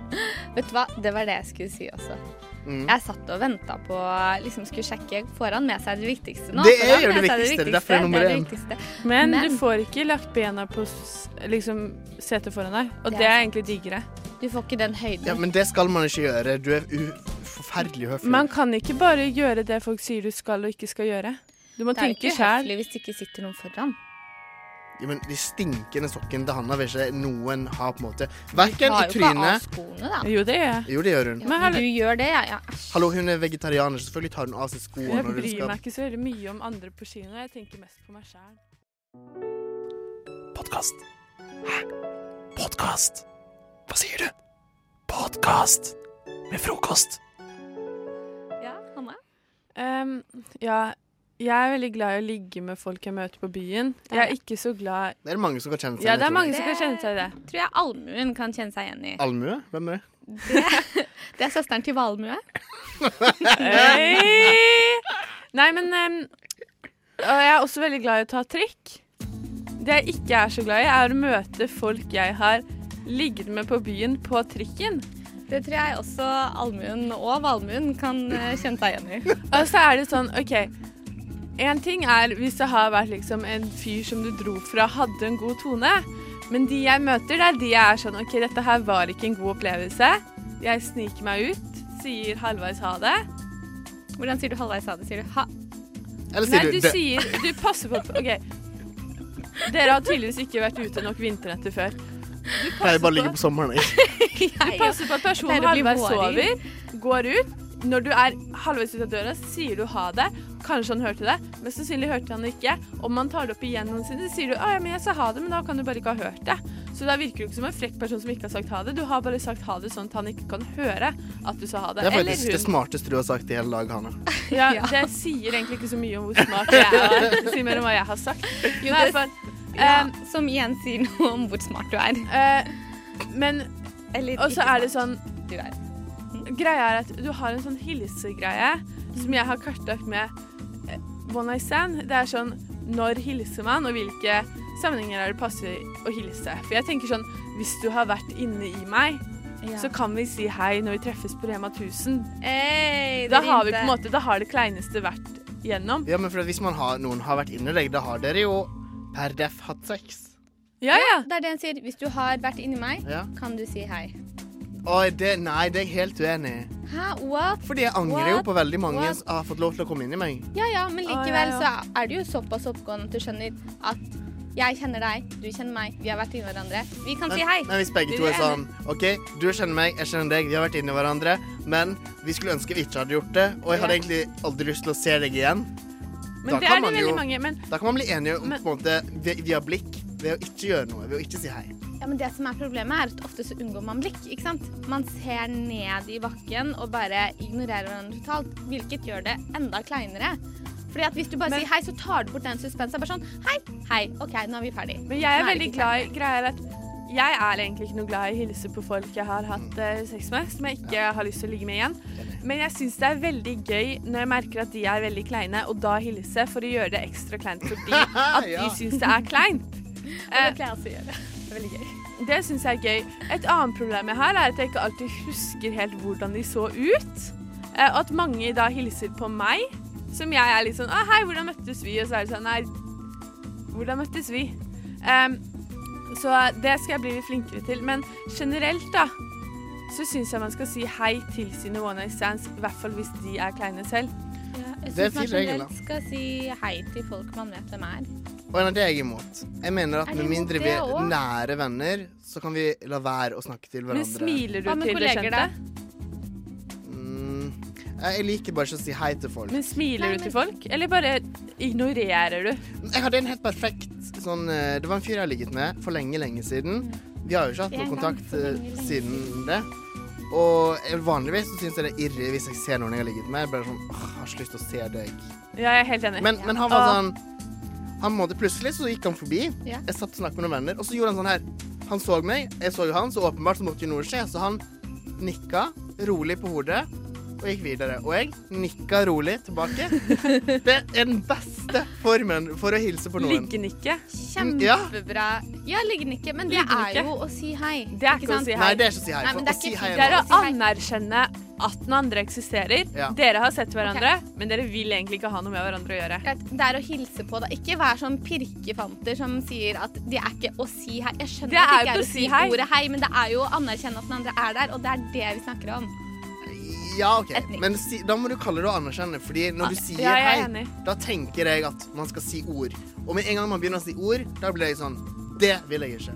Vet du hva, det var det jeg skulle si også. Mm. Jeg satt og venta på liksom skulle sjekke Får han med seg det viktigste nå? Det Får er han jo det med seg viktigste, det er derfor det er nummer det én. viktigste. Men, Men- du får ikke lagt bena på s- liksom, setet foran deg, og Det det er er, sant. egentlig diggere. Du får ikke den høyden. Ja, men det skal man ikke gjøre. Du er u forferdelig høflig. Man kan ikke bare gjøre det folk sier du skal og ikke skal gjøre. Du må det er jo tenke ikke sjæl. høflig hvis det ikke sitter noen liksom foran. Ja, men De stinkende sokkene til Hanna vil ikke noen ha, på en måte. Verken i tar jo ikke av trynet skoene, da. Jo, det gjør jeg. Jo, det gjør hun. Ja, du gjør det, ja. ja. æsj. Hallo, hun er vegetarianer. så Selvfølgelig tar hun av seg skoene. Jeg når hun bryr skal- meg ikke så veldig mye om andre på kino. Jeg tenker mest på meg sjæl. Podkast. Hæ? Podkast? Hva sier du? Podkast med frokost. Ja, Hanne? Ehm, ja, jeg er veldig glad i å ligge med folk jeg møter på byen. Jeg er ikke så glad Det er det mange som kan kjenne seg Ja, igjen i, det er tror mange jeg. som kan kjenne seg i det. Tror jeg allmuen kan kjenne seg igjen i. Allmue? Hvem er det? Det er søsteren til valmue. Hei! Nei, men ehm, og jeg er også veldig glad i å ta trikk. Det jeg ikke er så glad i, er å møte folk jeg har ligget med på byen på trikken. Det tror jeg også allmuen og valmuen kan eh, kjenne seg igjen i. Og så er det sånn, OK En ting er hvis det har vært liksom en fyr som du dro fra, hadde en god tone. Men de jeg møter, det er de jeg er sånn OK, dette her var ikke en god opplevelse. Jeg sniker meg ut, sier halvveis ha det. Hvordan sier du halvveis ha det? Sier du ha? Nei, Eller sier du du det? sier Du passer på OK. Dere har tydeligvis ikke vært ute nok vinternetter før. Du Jeg passer bare på, ligger på sommeren. jeg. du passer på Pleier at personen å bli halvveis vårig. sover, går ut. Når du er halvveis ut av døra, sier du ha det. Kanskje han hørte det, men sannsynlig hørte han det ikke. Om han tar det opp igjen noensinne, så sier du «Å, ja, men jeg sa ha det, men da kan du bare ikke ha hørt det. Så da virker du ikke som en frekk person som ikke har sagt ha det. Du har bare sagt ha det sånn at han ikke kan høre at du sa ha det. Det er Eller faktisk det hun. smarteste du har sagt i hele dag, Hanne. Ja, det sier egentlig ikke så mye om hvor smart jeg er. Det sier mer om hva jeg har sagt. Jo, Men i det- hvert fall, Ja, eh, som igjen sier noe om hvor smart du er. eh, men Og så er det sånn Du er. Greia er at du har en sånn hilsegreie som jeg har kartlagt med eh, One Night Stand. Det er sånn når hilser man, og hvilke sammenhenger er det passer å hilse. For jeg tenker sånn Hvis du har vært inne i meg, Ja. så kan vi si hei når vi treffes på Rema 1000. Hey, det da har rimte. vi på en måte Da har det kleineste vært gjennom. Ja, men for at hvis man har, noen har vært inni deg, da har dere jo per def hatt sex. Ja, ja. Det er det han sier. Hvis du har vært inni meg, Ja. kan du si hei. Oi, det, nei, det er jeg helt uenig i. Hæ, what? Fordi jeg angrer jo What? på veldig mange What? som har fått lov til å komme inn i meg. Ja, ja, men Å, ja, likevel så ja. er du jo såpass oppegående at du skjønner at jeg kjenner deg, du kjenner meg, vi har vært inni hverandre. Vi kan Men, si hei. men hvis begge to er sånn OK, du kjenner meg, jeg kjenner deg, vi har vært inni hverandre, men vi skulle ønske vi ikke hadde gjort det, og jeg hadde Ja. egentlig aldri lyst til å se deg igjen. Men det kan er det man veldig jo- mange. Men Da kan man bli enige om, Men- på en måte, via, via blikk ved å ikke gjøre noe, ved å ikke si hei. Ja, men det som er problemet er at ofte så unngår man blikk, ikke sant? Man ser ned i bakken og bare ignorerer hverandre totalt, hvilket gjør det enda kleinere. Fordi at hvis du bare sier hei, så tar du bort den suspensen, bare sånn, hei, hei, ok, nå er vi ferdig. Men jeg er veldig glad i greier at jeg er egentlig ikke noe glad i å hilse på folk jeg har Mm. hatt eh, sex med, som jeg ikke har lyst til å ligge med igjen. Men jeg syns det er veldig gøy når jeg merker at de er veldig kleine, og da hilse for å gjøre det ekstra kleint fordi at de Ja. syns det er kleint. Eh, Og det pleier jeg også å gjøre. Det er veldig gøy. Det syns jeg er gøy. Et annet problem jeg har, er at jeg ikke alltid husker helt hvordan de så ut. Eh, Og at mange da hilser på meg, som jeg er litt sånn Å, hei, hvordan møttes vi? Og så er det sånn Nei, hvordan møttes vi? Em, så det skal jeg bli litt flinkere til. Men generelt, da, så syns jeg man skal si hei til sine one night stands, i hvert fall hvis de er kleine selv. Jeg Det er synes man fin regel, da. generelt skal si hei til folk man vet hvem er. Og nei, det er jeg imot. Jeg mener at Er du med imot mindre vi det er også? nære venner, så kan vi la være å snakke til Men hverandre. smiler du Hva med til det kolleger, kjente? da? Mm, jeg jeg liker bare ikke å si hei til folk. Men smiler du til folk, eller bare ignorerer du? Jeg hadde en helt perfekt sånn eh, Det var en fyr jeg har ligget med for lenge, lenge siden. Vi har jo ikke hatt Det er en noe gang kontakt for lenge, eh, lenge siden det. Og jeg- vanligvis så syns jeg det er irre hvis jeg ser noen jeg har ligget med. Jeg bare sånn, åh, jeg har ikke lyst til å se deg. Ja, jeg er helt enig. Men, men han var Åh. sånn han måtte Plutselig så gikk han forbi. Ja. Jeg satt og snakket med noen venner, og så gjorde han sånn her. Han så meg, jeg så jo han, så åpenbart så måtte jo noe skje. Så han nikka rolig på hodet og gikk videre. Og jeg nikka rolig tilbake. Det er den beste formen for å hilse på noen. Liggenikke. Kjempebra. Ja, liggenikke, men det er Liggenikke. jo å si hei. Det er ikke, å sant? si hei. Nei, det er ikke å si hei, Nei, men for det er å si ikke hei er Det er å noe. anerkjenne at den andre eksisterer. Ja. Dere har sett hverandre, men dere vil egentlig ikke ha noe med hverandre å gjøre. Greit, Det er å hilse på, da. Ikke vær sånn pirkefanter som sier at det er ikke å si hei. Jeg skjønner Det at det ikke er jo er å å si si hei. ordet hei, men det er jo å anerkjenne at den andre er der, og det er det vi snakker om. Ja, OK. Men si, da må du kalle det å anerkjenne, Fordi når du sier Ah, Ja, jeg er hei, enig. da tenker jeg at man skal si ord. Og med en gang man begynner å si ord, da blir jeg sånn Det vil jeg ikke.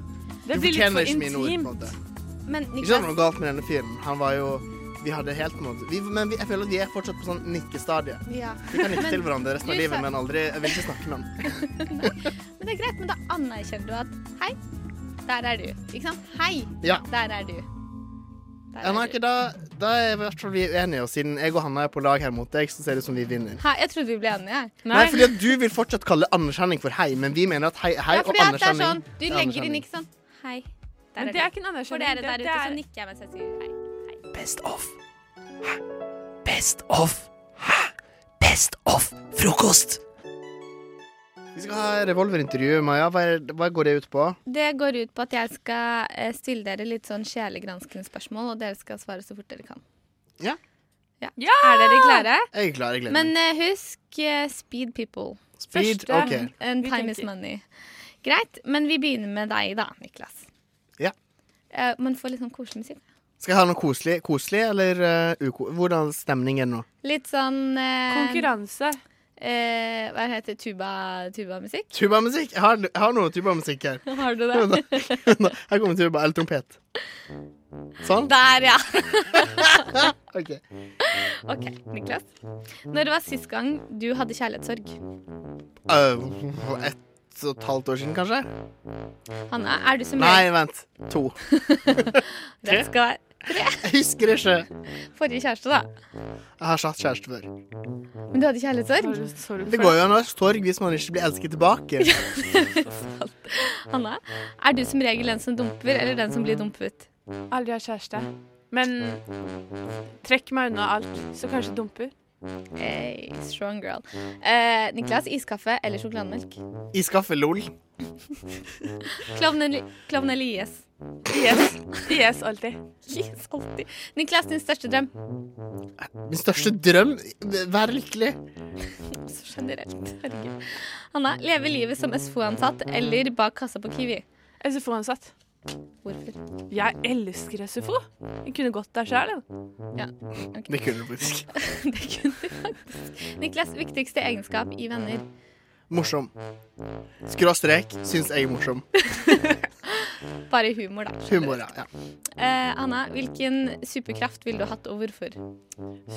Det du blir litt fortjener for ikke mine ord. på en intimt. måte. Men Ikke at det Niklas, var noe galt med denne fyren. Han var jo Vi hadde helt på en måte vi, Men vi, jeg føler at vi er fortsatt på sånn nikkestadiet. Ja. Vi kan nikke Men til hverandre resten av du livet, sa- men aldri Jeg vil ikke snakke med han. Men det er greit, men da anerkjenner du at hei, der er du. Ikke sant? Hei, Ja. der er du. Der Ja, er nei, du. ikke, da, da er i hvert fall vi uenige, og siden jeg og Hanna er på lag her mot deg, så ser det ut som vi vinner. Hei, jeg trodde vi ble enige. jeg. Nei, fordi at du vil fortsatt kalle anerkjenning for hei, men vi mener at hei, hei ja, og fordi at det er anerkjenning sånn, du er legger inn anerkjenning. ikke sånn hei. Men Der det du. er ikke en anerkjennelse. For dere der Det- ute det så er- nikker jeg mens jeg sier hei. Best of. Hæ? Best of. Hæ? Best of frokost. Vi skal ha revolverintervju, Maja. Hva, er, hva går det ut på? Det går ut på at jeg skal eh, stille dere litt sånn sjelegranskende spørsmål, og dere skal svare så fort dere kan. Ja. Ja. Er dere klare? Jeg er klar, jeg gleder Men meg. eh, husk eh, speed people. Speed, Første ok. and Vi time is tenker. money. Greit, men vi begynner med deg da, Niklas. Ja. Eh, men få litt sånn koselig musikk. Skal jeg ha noe koselig, koselig eller uh, uko... Hvordan stemning er det nå? Litt sånn eh, Konkurranse. Eh, hva heter det? Tuba- Tubamusikk? Tubamusikk? Jeg, har- jeg har noe tubamusikk her. Har du det? Her kommer tuba eller trompet. Sånn. Der, ja. OK. OK, Niklas. Når det var sist gang du hadde kjærlighetssorg? Uh, ett og et halvt år siden, kanskje? Hanna, er du som Nei, jeg? vent. To. Det skal være Jeg husker ikke. forrige kjæreste, da. Jeg har ikke hatt kjæreste før. Men du hadde kjærlighetssorg? Det går jo an å ha sorg hvis man ikke blir elsket tilbake. Hanna, er du som regel den som dumper, eller den som blir dumpet? Aldri har kjæreste. Men trekk meg unna alt, så kanskje dumper. Hey, strong girl. Eh, Niklas, iskaffe eller sjokolademelk? Iskaffe, lol. Klovn eller- klovn eller IS? Yes. Yes, alltid. Yes, alltid. Niklas, din største drøm? Min største drøm? Være lykkelig. Så generelt. Herregud. Hanna, leve livet som SFO-ansatt eller bak kassa på Kiwi? SFO-ansatt. Hvorfor? Jeg elsker SFO. Jeg kunne gått der sjøl. Ja, Det kunne du faktisk. Niklas, viktigste egenskap i venner? Morsom. Skråstrek syns jeg er morsom. Bare humor, da. Humor, ja. ja. Eh, Hanna, hvilken superkraft ville du hatt, og hvorfor?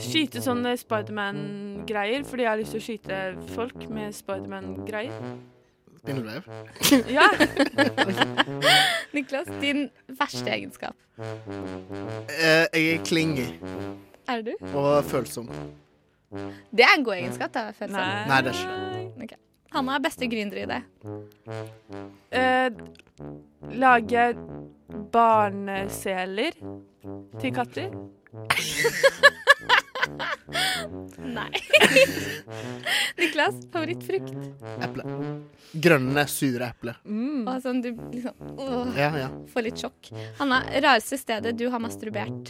Skyte sånn sånne Spiderman-greier, fordi jeg har lyst til å skyte folk med Spiderman-greier. Spindelvev. Ja. Niklas, din verste egenskap? Eh, Jeg er klingy Er du? og følsom. Det er en god egenskap, da. Føler jeg. Nei, det er ikke Ok. Hanna er beste gründeridé. Eh, lage barneseler til katter. Nei. Niklas, favorittfrukt? Eple. Grønne, sure eple. Mm. Og sånn du liksom åh, Ja, ja. Får litt sjokk. Hanna, rareste stedet du har masturbert?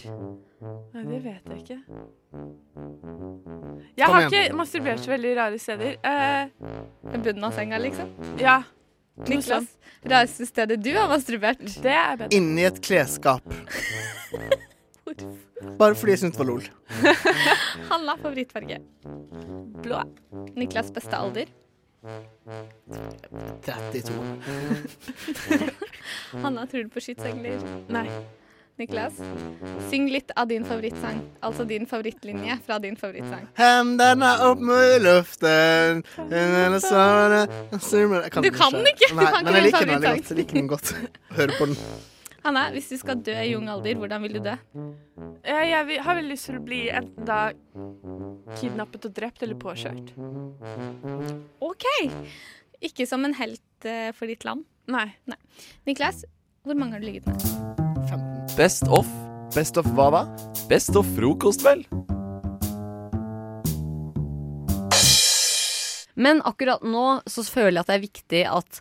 Nei, det vet jeg ikke. Kom Jeg har igjen. ikke masturbert så veldig rare steder. Eh, Ved bunnen av senga, liksom? ja. Niklas, rareste stedet du har masturbert? Det er bedre. Inni et klesskap. Bare fordi jeg syntes det var lol. Hanna, favorittfarge? Blå. Niklas, beste alder? 32. Hanna, tror du på skytsengler? Nei. Niklas, syng litt av din favorittsang. Altså din favorittlinje fra din favorittsang. Hem denne opp med luften Eller sånn, summer- Jeg Du kan den ikke. Du Nei, kan ikke men jeg din liker den veldig favorittsang. godt. Jeg liker den godt. Hører på den. Hanna, hvis du skal dø i ung alder, hvordan vil du dø? Eh, jeg vil, har veldig lyst til å bli enten da kidnappet og drept eller påkjørt. OK! Ikke som en helt eh, for ditt land. Nei. Niklas, hvor mange har du ligget med? Best of. Best of hva da? Best of frokost, vel. Men akkurat nå så føler jeg at det er viktig at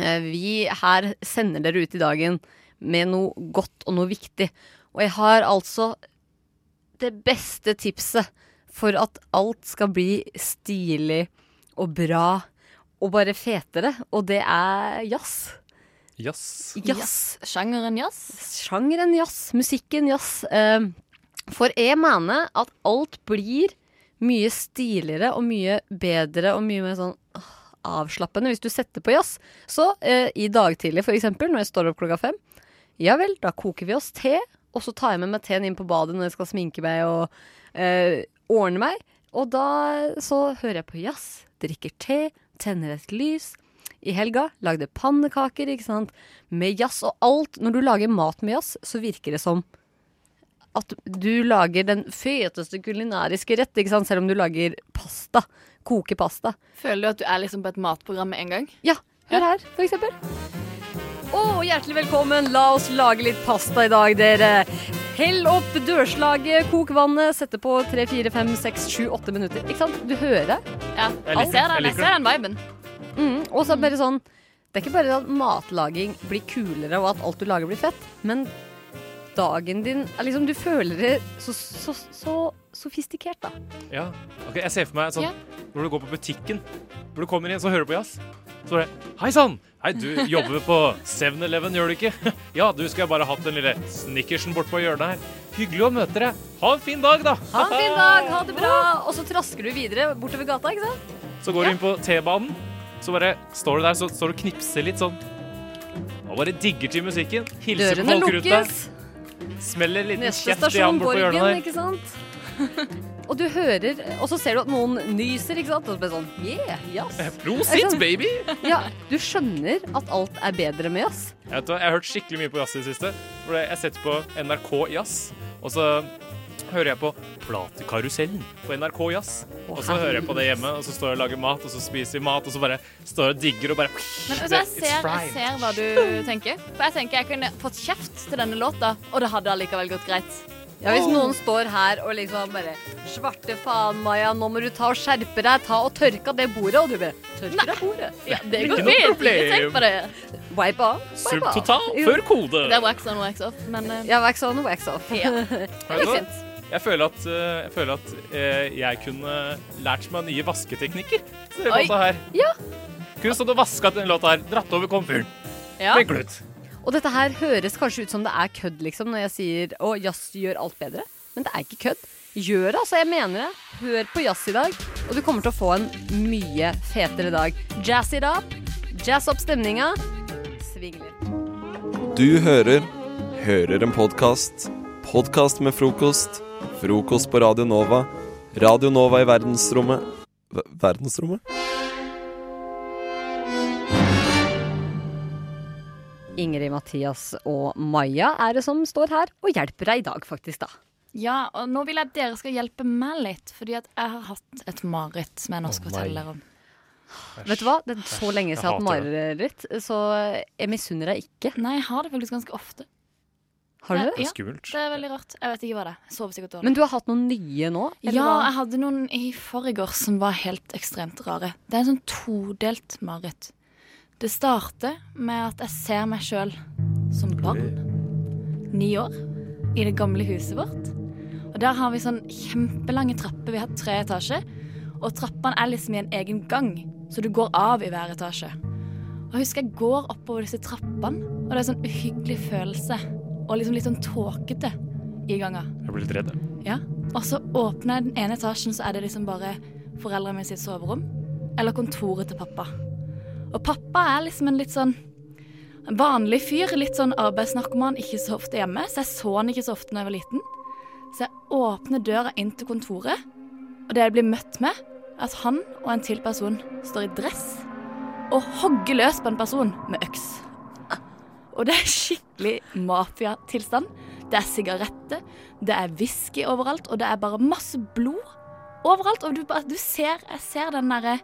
eh, vi her sender dere ut i dagen med noe godt og noe viktig. Og jeg har altså det beste tipset for at alt skal bli stilig og bra og bare fetere, og det er jazz. Jazz. Jazz. Sjangeren jazz? Sjangeren jazz. Musikken jazz. Eh, For jeg mener at alt blir mye stiligere og mye bedre og mye mer sånn åh, avslappende hvis du setter på jazz. Så eh, i dag tidlig, for eksempel, når jeg står opp klokka fem, ja vel, da koker vi oss te. Og så tar jeg med meg teen inn på badet når jeg skal sminke meg og eh, ordne meg. Og da så hører jeg på jazz, drikker te, tenner et lys. I helga lagde pannekaker, ikke sant. Med jazz og alt. Når du lager mat med jazz, så virker det som at du lager den feteste kulinariske rett, ikke sant? selv om du lager pasta. Koker pasta. Føler du at du er liksom på et matprogram med en gang? Ja. Hør her, for eksempel. Å, hjertelig velkommen. La oss lage litt pasta i dag, dere. Hell opp dørslaget, kok vannet, sette på 3, 4, 5, 6, 7, 8 minutter. Ikke sant? Du hører det. Ja, jeg Alt. ser den, jeg ser den viben. Mm, og så er det bare sånn Det er ikke bare at matlaging blir kulere og at alt du lager blir fett, men dagen din er liksom Du føler det så, så, så sofistikert, da. Ja. Ok, Jeg ser for meg sånn Ja. når du går på butikken, hvor du kommer inn, så hører du på jazz. Så er det Hei sann! Hei, du jobber på 7-Eleven, gjør du ikke? Ja, du skulle jeg bare hatt den lille snickersen bort på hjørnet her. Hyggelig å møte deg. Ha en fin dag, da! Ha en fin dag, ha det bra. Og så trasker du videre bortover gata, ikke sant? Så går du inn på T-banen, så bare står du der, så står du og knipser litt sånn. Og bare digger til musikken. Hilser på Dørene folkeruta. lukkes. Smeller en liten Neste kjeft i stasjon han borte på Borgen, hjørnet der. ikke sant? Og du hører, og så ser du at noen nyser, ikke sant? Og så blir det sånn Yeah, jazz. Prosit, Ikke sant? Eh, baby! Ja, du skjønner at alt er bedre med jazz. Jeg, vet, hva, jeg har hørt skikkelig mye på jazz i det siste. For det- Jeg setter på NRK Jazz, og så hører jeg på Platekarusellen på NRK Jazz. Og så hører jeg på det hjemme, og så står jeg og lager mat, og så spiser vi mat, og så bare står jeg og digger og bare Men vet du, hva, Det- jeg it's ser, jeg fine. ser hva du tenker. For jeg tenker jeg kunne fått kjeft til denne låta, og det hadde allikevel gått greit. Ja, Hvis noen står her og liksom bare Svarte faen, Maja, nå må du ta og skjerpe deg. Ta og tørke av det bordet. Og du bare Tørker av bordet. Ja, det Ikke går noe fint. problem. Ikke tenk på det. Wipe av. wipe av. Jo. Det er wax on, wax off. Men eh, Ja, wax on, wax off. Ja. Vet du hva? Jeg føler at, eh, jeg, føler at eh, jeg kunne lært meg nye vasketeknikker. Så det Oi. låta her. Ja. Kunne stått og vaska den låta her. Dratt over komfyren. Ja. Med glutt. Og dette her høres kanskje ut som det er kødd, liksom, når jeg sier å, jazz gjør alt bedre. Men det er ikke kødd. Gjør det, altså. Jeg mener det. Hør på jazz i dag, og du kommer til å få en mye fetere dag. Jazz it up. Jazz opp stemninga. Sving litt. Du hører Hører en podkast. Podkast med frokost. Frokost på Radio Nova. Radio Nova i verdensrommet Ver- Verdensrommet? Ingrid, Mathias og Maja er det som står her og hjelper deg i dag, faktisk, da. ja, og nå vil jeg at dere skal hjelpe meg litt, fordi at jeg har hatt et mareritt med en norsk Å, nei. hoteller om. Vet du hva? Det er så lenge Jeg siden jeg har hatt hater mareritt, så jeg misunner deg ikke. Nei, jeg har det faktisk ganske ofte. Har du det? Ja, Det er veldig rart. Jeg vet ikke hva det er. Jeg sover sikkert dårlig. Men du har hatt noen nye nå? eller Ja, hva? jeg hadde noen i forgårs som var helt ekstremt rare. Det er en sånn todelt mareritt. Det starter med at jeg ser meg sjøl som barn. Ni år. I det gamle huset vårt. Og der har vi sånn kjempelange trapper. Vi har tre etasjer. Og trappene er liksom i en egen gang, så du går av i hver etasje. Og jeg husker jeg går oppover disse trappene, og det er en sånn uhyggelig følelse. Og liksom litt sånn tåkete i ganga. Jeg blir litt redd. jeg. Ja. Og så åpner jeg den ene etasjen, så er det liksom bare foreldrene mine sitt soverom. Eller kontoret til pappa. Og pappa er liksom en litt sånn en vanlig fyr. Litt sånn arbeidsnarkoman, ikke så ofte hjemme. Så jeg så han ikke så ofte da jeg var liten. Så jeg åpner døra inn til kontoret, og det jeg blir møtt med, er at han og en til person står i dress og hogger løs på en person med øks. Og det er skikkelig mafiatilstand. Det er sigaretter, det er whisky overalt, og det er bare masse blod overalt. Og du, bare- du ser, jeg ser den derre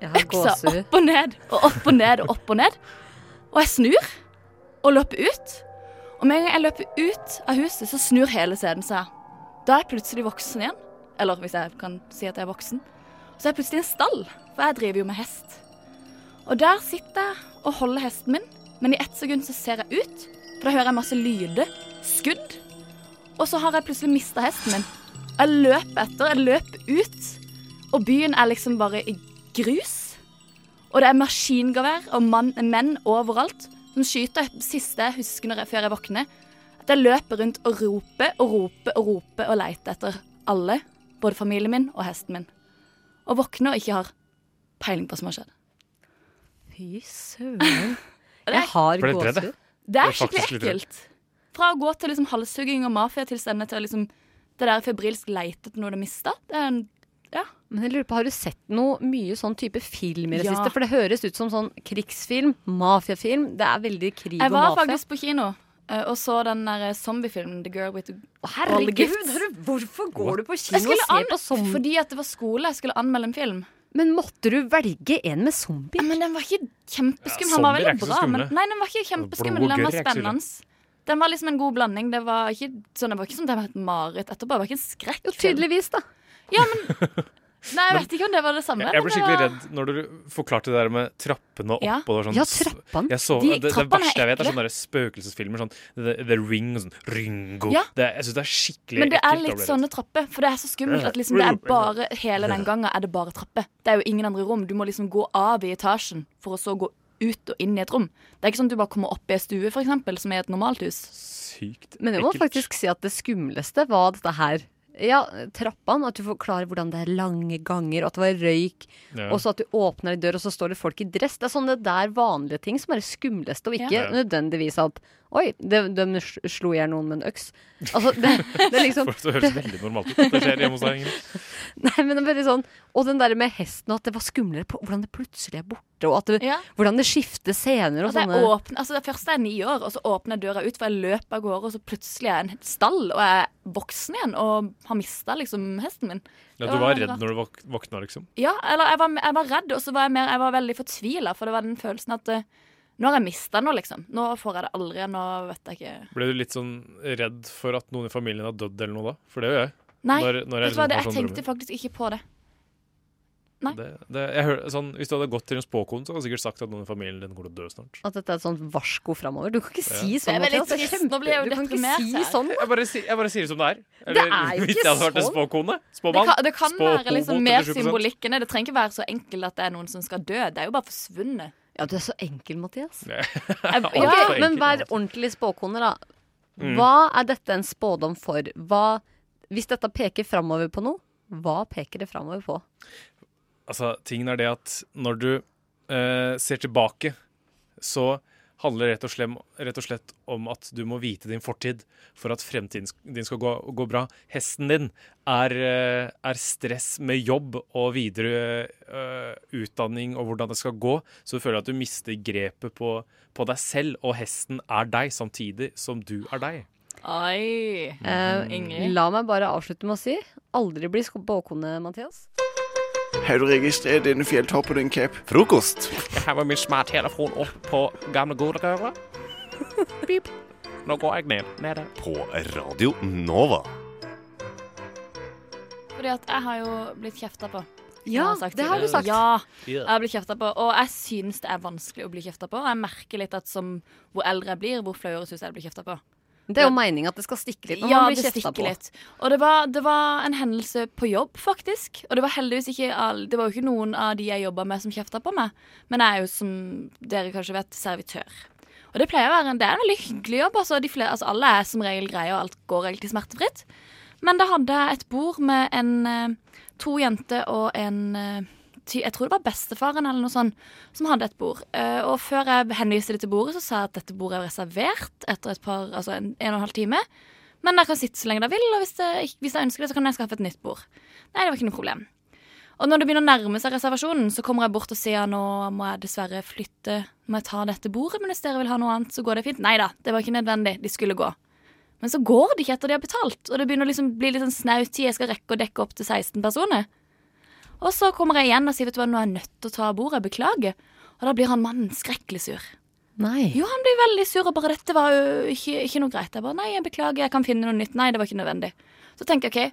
øksa gåsehud. opp og ned og opp og ned og opp og ned. Og jeg snur og løper ut. Og med en gang jeg løper ut av huset, så snur hele scenen seg. Da er jeg plutselig voksen igjen. Eller hvis jeg kan si at jeg er voksen. Så er jeg plutselig i en stall, for jeg driver jo med hest. Og der sitter jeg og holder hesten min, men i ett sekund så ser jeg ut, for da hører jeg masse lyder, skudd, og så har jeg plutselig mista hesten min. Jeg løper etter, jeg løper ut, og byen er liksom bare i grus. Og det er maskingevær og mann, menn overalt som skyter Det siste jeg husker når jeg, før jeg våkner. At jeg løper rundt og roper og roper og roper og leter etter alle, både familien min og hesten min. Og våkner og ikke har peiling på hva som har skjedd. Fy søren. Jeg har Ble litt redd, jeg. gåsehud. Det Ble er skikkelig faktisk litt redd. ekkelt. Fra å gå til liksom halshugging og mafiatilstander til å liksom det der febrilsk leite etter noe du har mista. Det er en Men jeg lurer på, Har du sett noe mye sånn type film i det Ja. siste? For det høres ut som sånn krigsfilm, mafiafilm. Det er veldig krig Jeg og var mafia. faktisk på kino eh, og så den der zombiefilmen The Girl with the All the Herregud, Gifts. har du- hvorfor går du på Jeg kino og skulle ser an- på zombie? Fordi at det var skole, jeg skulle anmelde en film. Men måtte du velge en med zombier? Men den var ikke kjempeskummel. Ja, den var zombier er veldig ikke så bra. Men, skumle. nei, den var ikke Blod kjempeskummel. og Den var gørr er ikke så ille. spennende. Den var liksom en god blanding. Det var ikke sånn, det var ikke sånn at det var et mareritt etterpå. Det var ikke en skrekkfilm. Jo, tydeligvis, da. Ja, men Nei, jeg vet ikke om det var det samme. Jeg, jeg ble men det skikkelig var- redd når du forklarte det der med trappene opp. Ja. Og det var sånn, Ja, trappene. Jeg så, De- det, det trappene er verste jeg vet, ekle. er sånn sånne der spøkelsesfilmer. Sånn The, The Ring og sånn Ringo. Ja. Det, jeg syns det er skikkelig Men det er ekkelt å litt sånn- bli redd. sånne trapper, for det er så skummelt at liksom det er bare hele den gangen er det bare trapper. Det er jo ingen andre rom. Du må liksom gå av i etasjen for å så gå ut og inn i et rom. Det er ikke sånn at du bare kommer opp i ei stue, for eksempel, som er et normalt hus. Sykt Men jeg må faktisk si at det skumleste var dette her. Ja, trappene. At du forklarer hvordan det er lange ganger, og at det var røyk. Ja. Og så at du åpner ei dør, og så står det folk i dress. Det er sånne der vanlige ting som er det skumleste, og ikke Ja. nødvendigvis at Oi, de, de slo i hjel noen med en øks. Altså, det, det er liksom For det høres veldig normalt ut. Det skjer hjemme hos deg. Ingrid. Nei, men det er veldig sånn Og den der med hesten, og at det var skumlere på hvordan det plutselig er borte, og at det, Ja. hvordan det skifter scener og, Og det, sånne er åpne, altså det første er jeg ni år, og så åpner jeg døra ut, for jeg løper av gårde, og så plutselig er jeg i en stall, og jeg er voksen igjen og har mista liksom hesten min. Ja, Det du var rart. redd når du våk- våkna, liksom. Ja, eller jeg var, jeg var redd, og så var jeg, mer, jeg var veldig fortvila, for det var den følelsen at eh, nå har jeg mista noe, liksom. Nå får jeg det aldri, nå vet jeg ikke Ble du litt sånn redd for at noen i familien har dødd eller noe da? For det gjør jeg. Nei, Når- når vet du hva, liksom det, får jeg sånne drømmer. tenkte faktisk ikke på det. Det, det, jeg hører, sånn, hvis du hadde gått til en spåkone, så hadde du sikkert sagt at noen i familien din går til å dø snart. At dette er et sånt varsko framover. Du kan ikke si Ja. sånn. Det er veldig Mathias. trist. Nå blir jeg jo du kan ikke deprimert si her. sånn. Jeg bare, si- jeg bare sier det som det er. Det er jo hvis ikke jeg hadde vært en sånn. spåkone. Det Spåmann. kan, det kan være liksom mer 87%. symbolikk enn det. Det trenger ikke være så enkelt at det er noen som skal dø. Det er jo bare forsvunnet. Ja, du er så enkel, Mathias. Jeg, Ok, men vær ordentlig spåkone, da. Mm. Hva er dette en spådom for? Hva, hvis dette peker framover på noe, hva peker det framover på? Altså, tingen er det at når du eh, ser tilbake, så handler det rett og, slem, rett og slett om at du må vite din fortid for at fremtiden sk- din skal gå, gå bra. Hesten din er, eh, er stress med jobb og videre eh, utdanning og hvordan det skal gå, så du føler at du mister grepet på, på deg selv, og hesten er deg samtidig som du er deg. Oi. Eh, Ingrid. la meg bare avslutte med å si aldri bli spåkone, Mathias. Har du registrert denne fjelltoppen din, Cape? Frokost. Jeg har med min smarttelefon opp på gamle gode døra. Pip. Nå går jeg ned. Nede. På Radio Nova. Fordi at jeg har jo blitt kjefta på. som Ja, jeg sagt det har du tidligere. sagt. Ja, Ja. jeg har blitt kjefta på. Og jeg syns det er vanskelig å bli kjefta på. Og jeg merker litt at som hvor eldre jeg blir, hvor flauere syns jeg det blir kjefta på. Det er jo meninga at det skal stikke litt når Ja, man blir det kjefta stikker på. litt. Og det var, det var en hendelse på jobb, faktisk. Og det var heldigvis ikke all, Det var jo ikke noen av de jeg jobba med, som kjefta på meg. Men jeg er jo, som dere kanskje vet, servitør. Og det pleier å være en, det er en veldig hyggelig jobb. Altså, de flere, altså alle er som regel greie, og alt går egentlig smertefritt. Men da hadde jeg et bord med en, eh, to jenter og en eh, ty, Jeg tror det var bestefaren eller noe sånt som hadde et bord. Eh, Og før jeg henviste det til bordet, så sa jeg at dette bordet er reservert etter et par, altså en, en og en halv time. Men dere kan sitte så lenge dere vil, og hvis dere, ikke- hvis dere ønsker det, så kan jeg skaffe et nytt bord. Nei, det var ikke noe problem. Og når det begynner å nærme seg reservasjonen, så kommer jeg bort og sier nå må jeg dessverre flytte, nå må jeg ta dette bordet, men hvis dere vil ha noe annet, så går det fint. Nei da, det var ikke nødvendig, de skulle gå. Men så går det ikke etter de har betalt, og det begynner å liksom bli litt sånn snaut tid, jeg skal rekke å dekke opp til 16 personer. Og så kommer jeg igjen og sier vet du hva, nå er jeg nødt til å ta bordet, beklager. Og da blir han mannen skrekkelig sur. Nei. Jo, han blir veldig sur og bare 'dette var jo ikke, ikke noe greit'. Jeg bare 'nei, jeg beklager, jeg kan finne noe nytt'. Nei, det var ikke nødvendig. Så tenker jeg OK,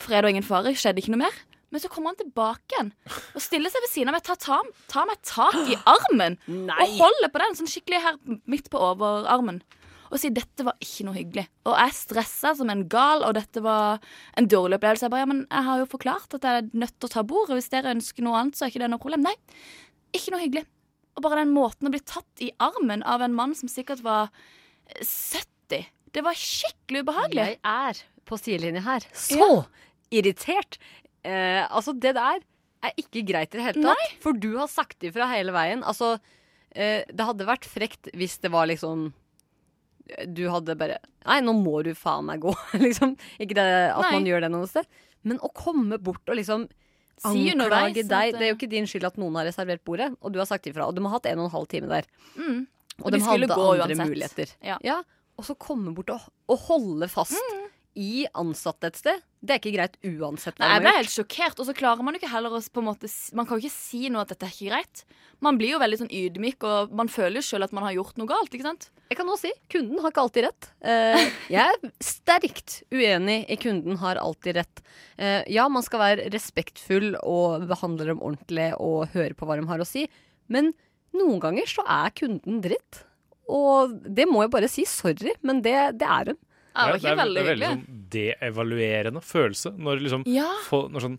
fred og ingen fare, skjedde ikke noe mer. Men så kommer han tilbake igjen og stiller seg ved siden av meg, tar, ta, tar meg tak i armen og holder på den sånn skikkelig her midt på overarmen. Og sier 'dette var ikke noe hyggelig'. Og jeg stressa som en gal, og dette var en dårlig opplevelse. Jeg bare 'ja, men jeg har jo forklart at jeg er nødt til å ta bordet', hvis dere ønsker noe annet, så er ikke det noe problem. Nei, ikke noe hyggelig. Og bare den måten å bli tatt i armen av en mann som sikkert var eh, 70 Det var skikkelig ubehagelig. Jeg er på sidelinja her. Så irritert! Eh, altså, det der er ikke greit i det hele tatt. For du har sagt ifra hele veien. Altså, eh, det hadde vært frekt hvis det var liksom du hadde bare Nei, nå må du faen meg gå. liksom. Ikke det at Nei. man gjør det noe sted. Men å komme bort og liksom Si underveis anklage at, deg Det er jo ikke din skyld at noen har reservert bordet, og du har sagt ifra. Og de har hatt en og en halv time der. Mm. Og, de, hadde andre muligheter. Ja. Og så komme bort og, og holde fast i ansatte et sted. Det er ikke greit uansett hva Nei, jeg de ble har helt gjort. sjokkert, og så klarer man jo ikke heller å s- på en måte, s- Man kan jo ikke si noe at dette er ikke greit. Man blir jo veldig sånn ydmyk, og man føler jo sjøl at man har gjort noe galt, ikke sant? Jeg kan også sånn si kunden har ikke alltid rett. Eh, jeg er sterkt uenig i kunden har alltid rett. Eh, ja, man skal være respektfull og behandle dem ordentlig og høre på hva de har å si, men noen ganger så er kunden dritt. Og det må jeg bare si sorry, men det, det er hun. det er, det er veldig sånn deevaluerende følelse når, liksom, Ja. folk, når sånn,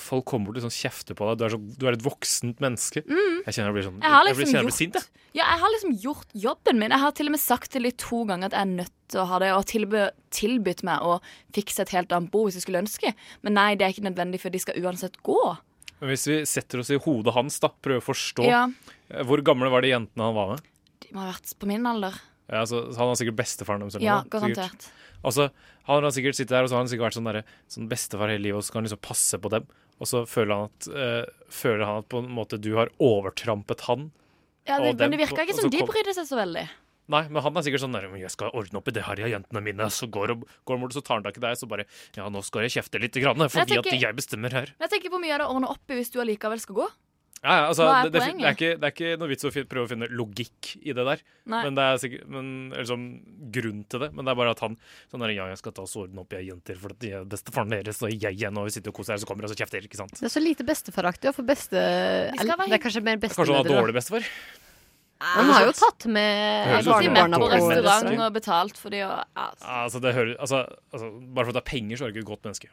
folk kommer bort og liksom kjefter på deg. Du er, så, du er et voksent menneske. Mm. Jeg kjenner jeg blir sånn Jeg har blir- liksom kjenner jeg blir gjort- sint. jeg. Ja, jeg har liksom gjort jobben min. Jeg har til og med sagt til de to ganger at jeg er nødt til å ha det, og tilby, tilbudt meg å fikse et helt annet bo hvis jeg skulle ønske. Men nei, det er ikke nødvendig, for de skal uansett gå. Men hvis vi setter oss i hodet hans, da, prøver å forstå Ja. Eh, Hvor gamle var de jentene han var med? De må ha vært på min alder. Ja, altså, han har sikkert bestefaren deres. eller Ja, noe, sikkert. garantert. Altså, han har sikkert sittet her, og så har han sikkert vært sånn, derre- sånn bestefar hele livet, og så kan han liksom passe på dem. Og så føler han at, eh, føler han at på en måte du har overtrampet han. Ja, det, og dem men det på- virka og ikke så som de kom- brydde seg så veldig. Nei, men han er sikkert sånn der, «Men 'Jeg skal ordne opp i det her, ja, jentene mine.' Så går, han- går han bort, så tar han tak i deg, så bare 'Ja, nå skal jeg kjefte litt, grann, fordi Jeg tenker- at jeg bestemmer her'. Men jeg tenker på hvor mye av det å ordne opp i hvis du allikevel skal gå. Ja, ja, altså, Hva er det, det, er- det, er poenget? ikke, det er ikke noe vits å fi- prøve å finne logikk i det der. Nei. Men det er sikkert men, eller sånn, grunn til det. Men det er bare at han sånn der, Ja, jeg skal ta og ordne opp, jeg jenter, for at de er bestefaren deres, og jeg igjen, og vi sitter og koser her, så kommer de og så kjefter, ikke sant? Det er så lite bestefaraktig, og for beste eller, Det er kanskje mer Kanskje han har bestemødre. dårlig bestefar? da. Han har jo tatt med Det høres ut som han har barnebarna dårlig på restaurant. restaurant. Og betalt for de å ja, Ja, Altså, det hører, altså, altså, bare for at det er penger, så er det ikke et godt menneske.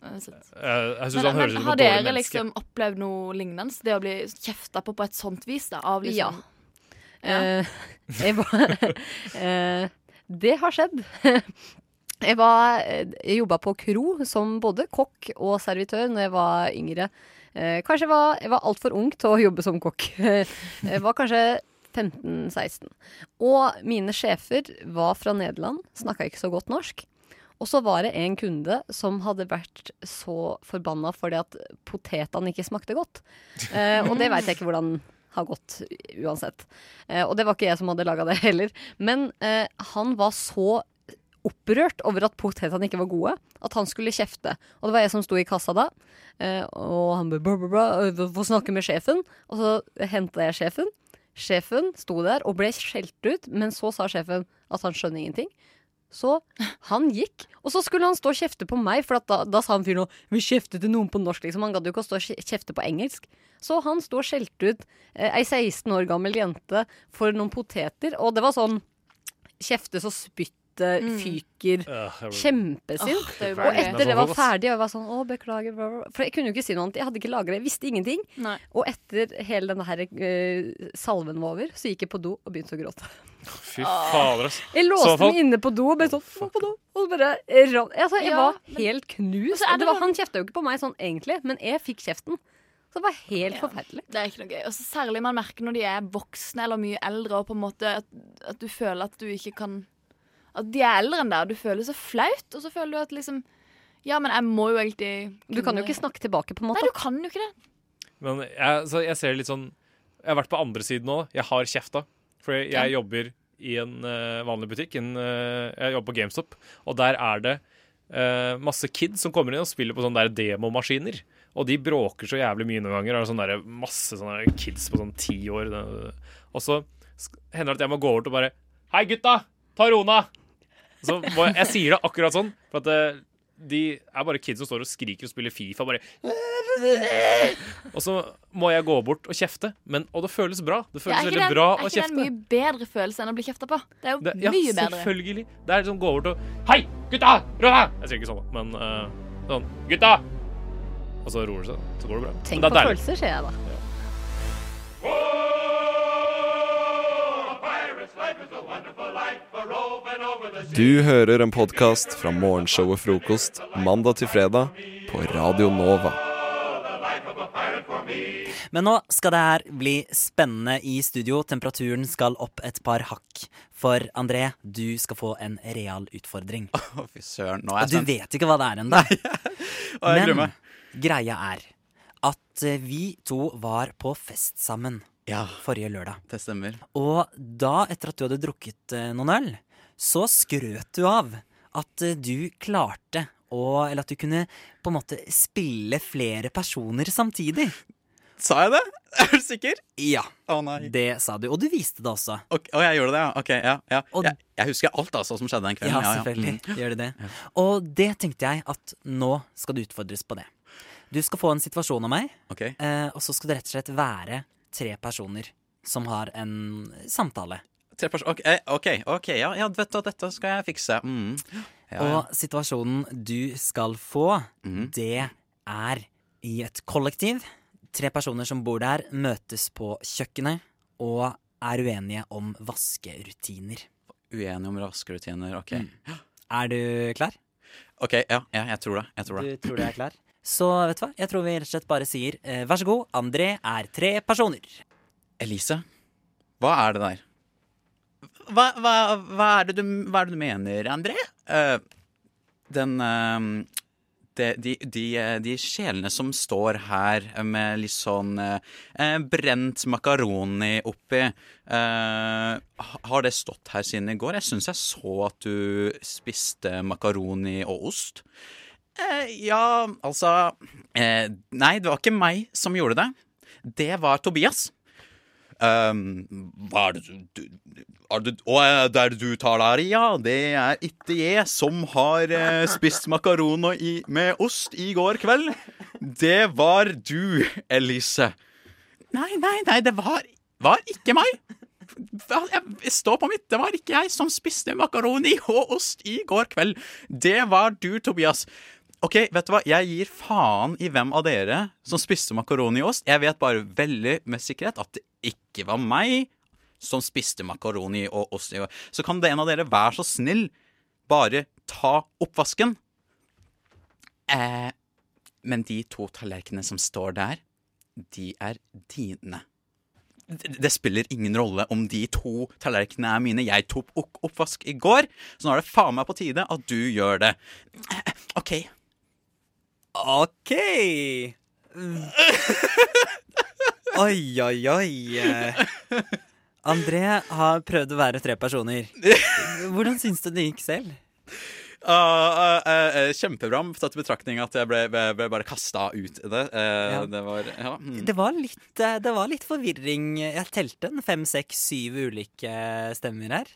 det er sant. Eh, Jeg synes Men, han høres men ut som har et dårlig dere menneske. liksom opplevd noe lignende? Det å bli kjefta på på et sånt vis? da av liksom, Ja. Eh, jeg var, eh, det har skjedd. Jeg, var, jeg jobba på Kro som både kokk og servitør når jeg var yngre. Eh, kanskje jeg var, jeg var altfor ung til å jobbe som kokk. Jeg var kanskje 15-16. Og mine sjefer var fra Nederland, snakka ikke så godt norsk. Og så var det en kunde som hadde vært så forbanna fordi at potetene ikke smakte godt. Eh, og det veit jeg ikke hvordan har gått u- uansett. Eh, og det var ikke jeg som hadde laga det heller. Men eh, han var så opprørt over at potetene ikke var gode, at han skulle kjefte. Og det var jeg som sto i kassa da, eh, og han bare bra, bra, bra, øh, få snakke med sjefen. Og så henta jeg sjefen. Sjefen sto der og ble skjelt ut, men så sa sjefen at han skjønner ingenting. Så han gikk, og så skulle han stå og kjefte på meg, for at da, da sa han fyren noe Vi kjefter til noen på norsk, liksom. Han gadd jo ikke å stå og kje- kjefte på engelsk. Så han sto og skjelte ut eh, ei 16 år gammel jente for noen poteter, og det var sånn Kjefte så spyttet Mm. fyker. jeg blir- Kjempesint. Åh, det er og ubehagelig. etter det var ferdig, og jeg var sånn Å, beklager, bla, bla. bla." For jeg kunne jo ikke si noe annet. Jeg hadde ikke lagra det. Jeg visste ingenting. Nei. Og etter hele denne her, eh, salven var over, så gikk jeg på do og begynte å gråte. Fy fader, ass. Jeg Så låste folk- meg inne på do og ble sånn «Må på do. Og så bare eh, ran- altså, Jeg Ja, var men- helt knust. Og så er det Og det var, noe- han kjefta jo ikke på meg sånn egentlig, men jeg fikk kjeften. Så det var helt forferdelig. Det er ikke noe gøy. Og så særlig man merker når de er voksne eller mye eldre, og på en måte at, at du føler at du ikke kan At de er eldre enn deg, og du føler så flaut, og så føler du at liksom Ja, men jeg må jo egentlig Du kan jo ikke snakke tilbake, på en måte. Nei, du kan jo ikke det. Men jeg, så jeg ser litt sånn Jeg har vært på andre siden nå. da. Jeg har kjefta. For jeg, jeg jobber i en eh, vanlig butikk. En, eh, jeg jobber på GameStop, og der er det eh, masse kids som kommer inn og spiller på sånne der demomaskiner. Og de bråker så jævlig mye noen ganger. Det er sånn der, masse sånne kids på sånn ti år. det- Og så sk- hender det at jeg må gå over til bare Hei, gutta! Ta rona! Så må jeg, jeg sier det akkurat sånn. For at eh, de er bare kids som står og skriker og spiller Fifa. Bare og så må jeg gå bort og kjefte. Men, og det føles bra. Det Ja, føles er ikke veldig det- bra er å ikke det en kjefte. mye bedre følelse enn å bli kjefta på? Det er jo Det, ja, mye bedre. selvfølgelig. Det er liksom gå bort og Hei, gutta! Rå deg! Jeg sier ikke sånn, men eh, sånn Gutta! Og så roer det seg. Så går det bra. Men Tenk det på er deilig. følelser, sier jeg da. Du hører en podkast fra morgenshowet Frokost mandag til fredag på Radio Nova. Men nå skal det her bli spennende i studio. Temperaturen skal opp et par hakk. For André, du skal få en real utfordring. Å, fy søren. Nå Og er jeg du sånn- spent. vet ikke hva det er ennå. Å, jeg gruer meg. Men greia er at eh, vi to var på fest sammen forrige lørdag. Det stemmer. Og da, etter at du hadde drukket eh, noen øl, så skrøt du av at eh, du klarte å Eller at du kunne på en måte spille flere personer samtidig. Sa jeg det? Er du sikker? Ja. Å, nei. Det sa du. Og du viste det også. Ok, å, jeg gjorde det, ja. Ok, ja, ja. Jeg, jeg husker alt altså som skjedde den kvelden. Mm. Ja, Mm. selvfølgelig gjør du det. Og det tenkte jeg at nå skal du utfordres på det. Du skal få en situasjon av meg, eh, og så skal det rett og slett være tre personer som har en samtale. Tre pers- ok, eh, OK, ok, ja, ja, vet du hva, dette skal jeg fikse. Mm. Ja, ja. Og situasjonen du skal få, det er i et kollektiv. Tre personer som bor der, møtes på kjøkkenet og er uenige om vaskerutiner. Uenig om raskerutiner, OK. Mm. Er du klar? OK, ja, ja jeg tror det. Jeg tror det. Du tror du er klar? Så vet du hva, jeg tror vi rett og slett bare sier eh, vær så god, André er tre personer. Elise, hva er det der? Hva, hva, hva, er, det du, hva er det du mener, André? Eh, den eh, de, de, de, eh, de sjelene som står her med litt sånn eh, eh, brent makaroni oppi eh, ha- Har det stått her siden i går? Jeg syns jeg så at du spiste makaroni og ost. Eh, ja, altså eh, Nei, det var ikke meg som gjorde det. Det var Tobias. Ehm, hva er det du, du er det, Å, er det er det du tar der? Ja, det er ikke jeg som har eh, spist makaroner i, med ost i går kveld. Det var du, Elise. Nei, nei, nei, det var, var ikke meg. Hva- Jeg står på mitt. Det var ikke jeg som spiste makaroni og ost i går kveld. Det var du, Tobias. Ok, vet du hva? Jeg gir faen i hvem av dere som spiste makaroni og ost. Jeg vet bare veldig med sikkerhet at det ikke var meg som spiste makaroni og ost. i går. Så kan det en av dere være så snill bare ta oppvasken? Eh, men de to tallerkenene som står der, de er dine det det spiller ingen rolle om de to tallerkenene er mine. Jeg tok opp oppvask i går, så nå er det faen meg på tide at du gjør det. OK. OK. Oi, oi, oi. André har prøvd å være tre personer. Hvordan syns du det gikk selv? Ah, eh, kjempebra, tatt i betraktning at jeg ble, ble, ble bare kasta ut i det. Eh, Ja. Det var ja. mm. Det var litt, eh, det var litt forvirring. Jeg telte en fem, seks, syv ulike stemmer her.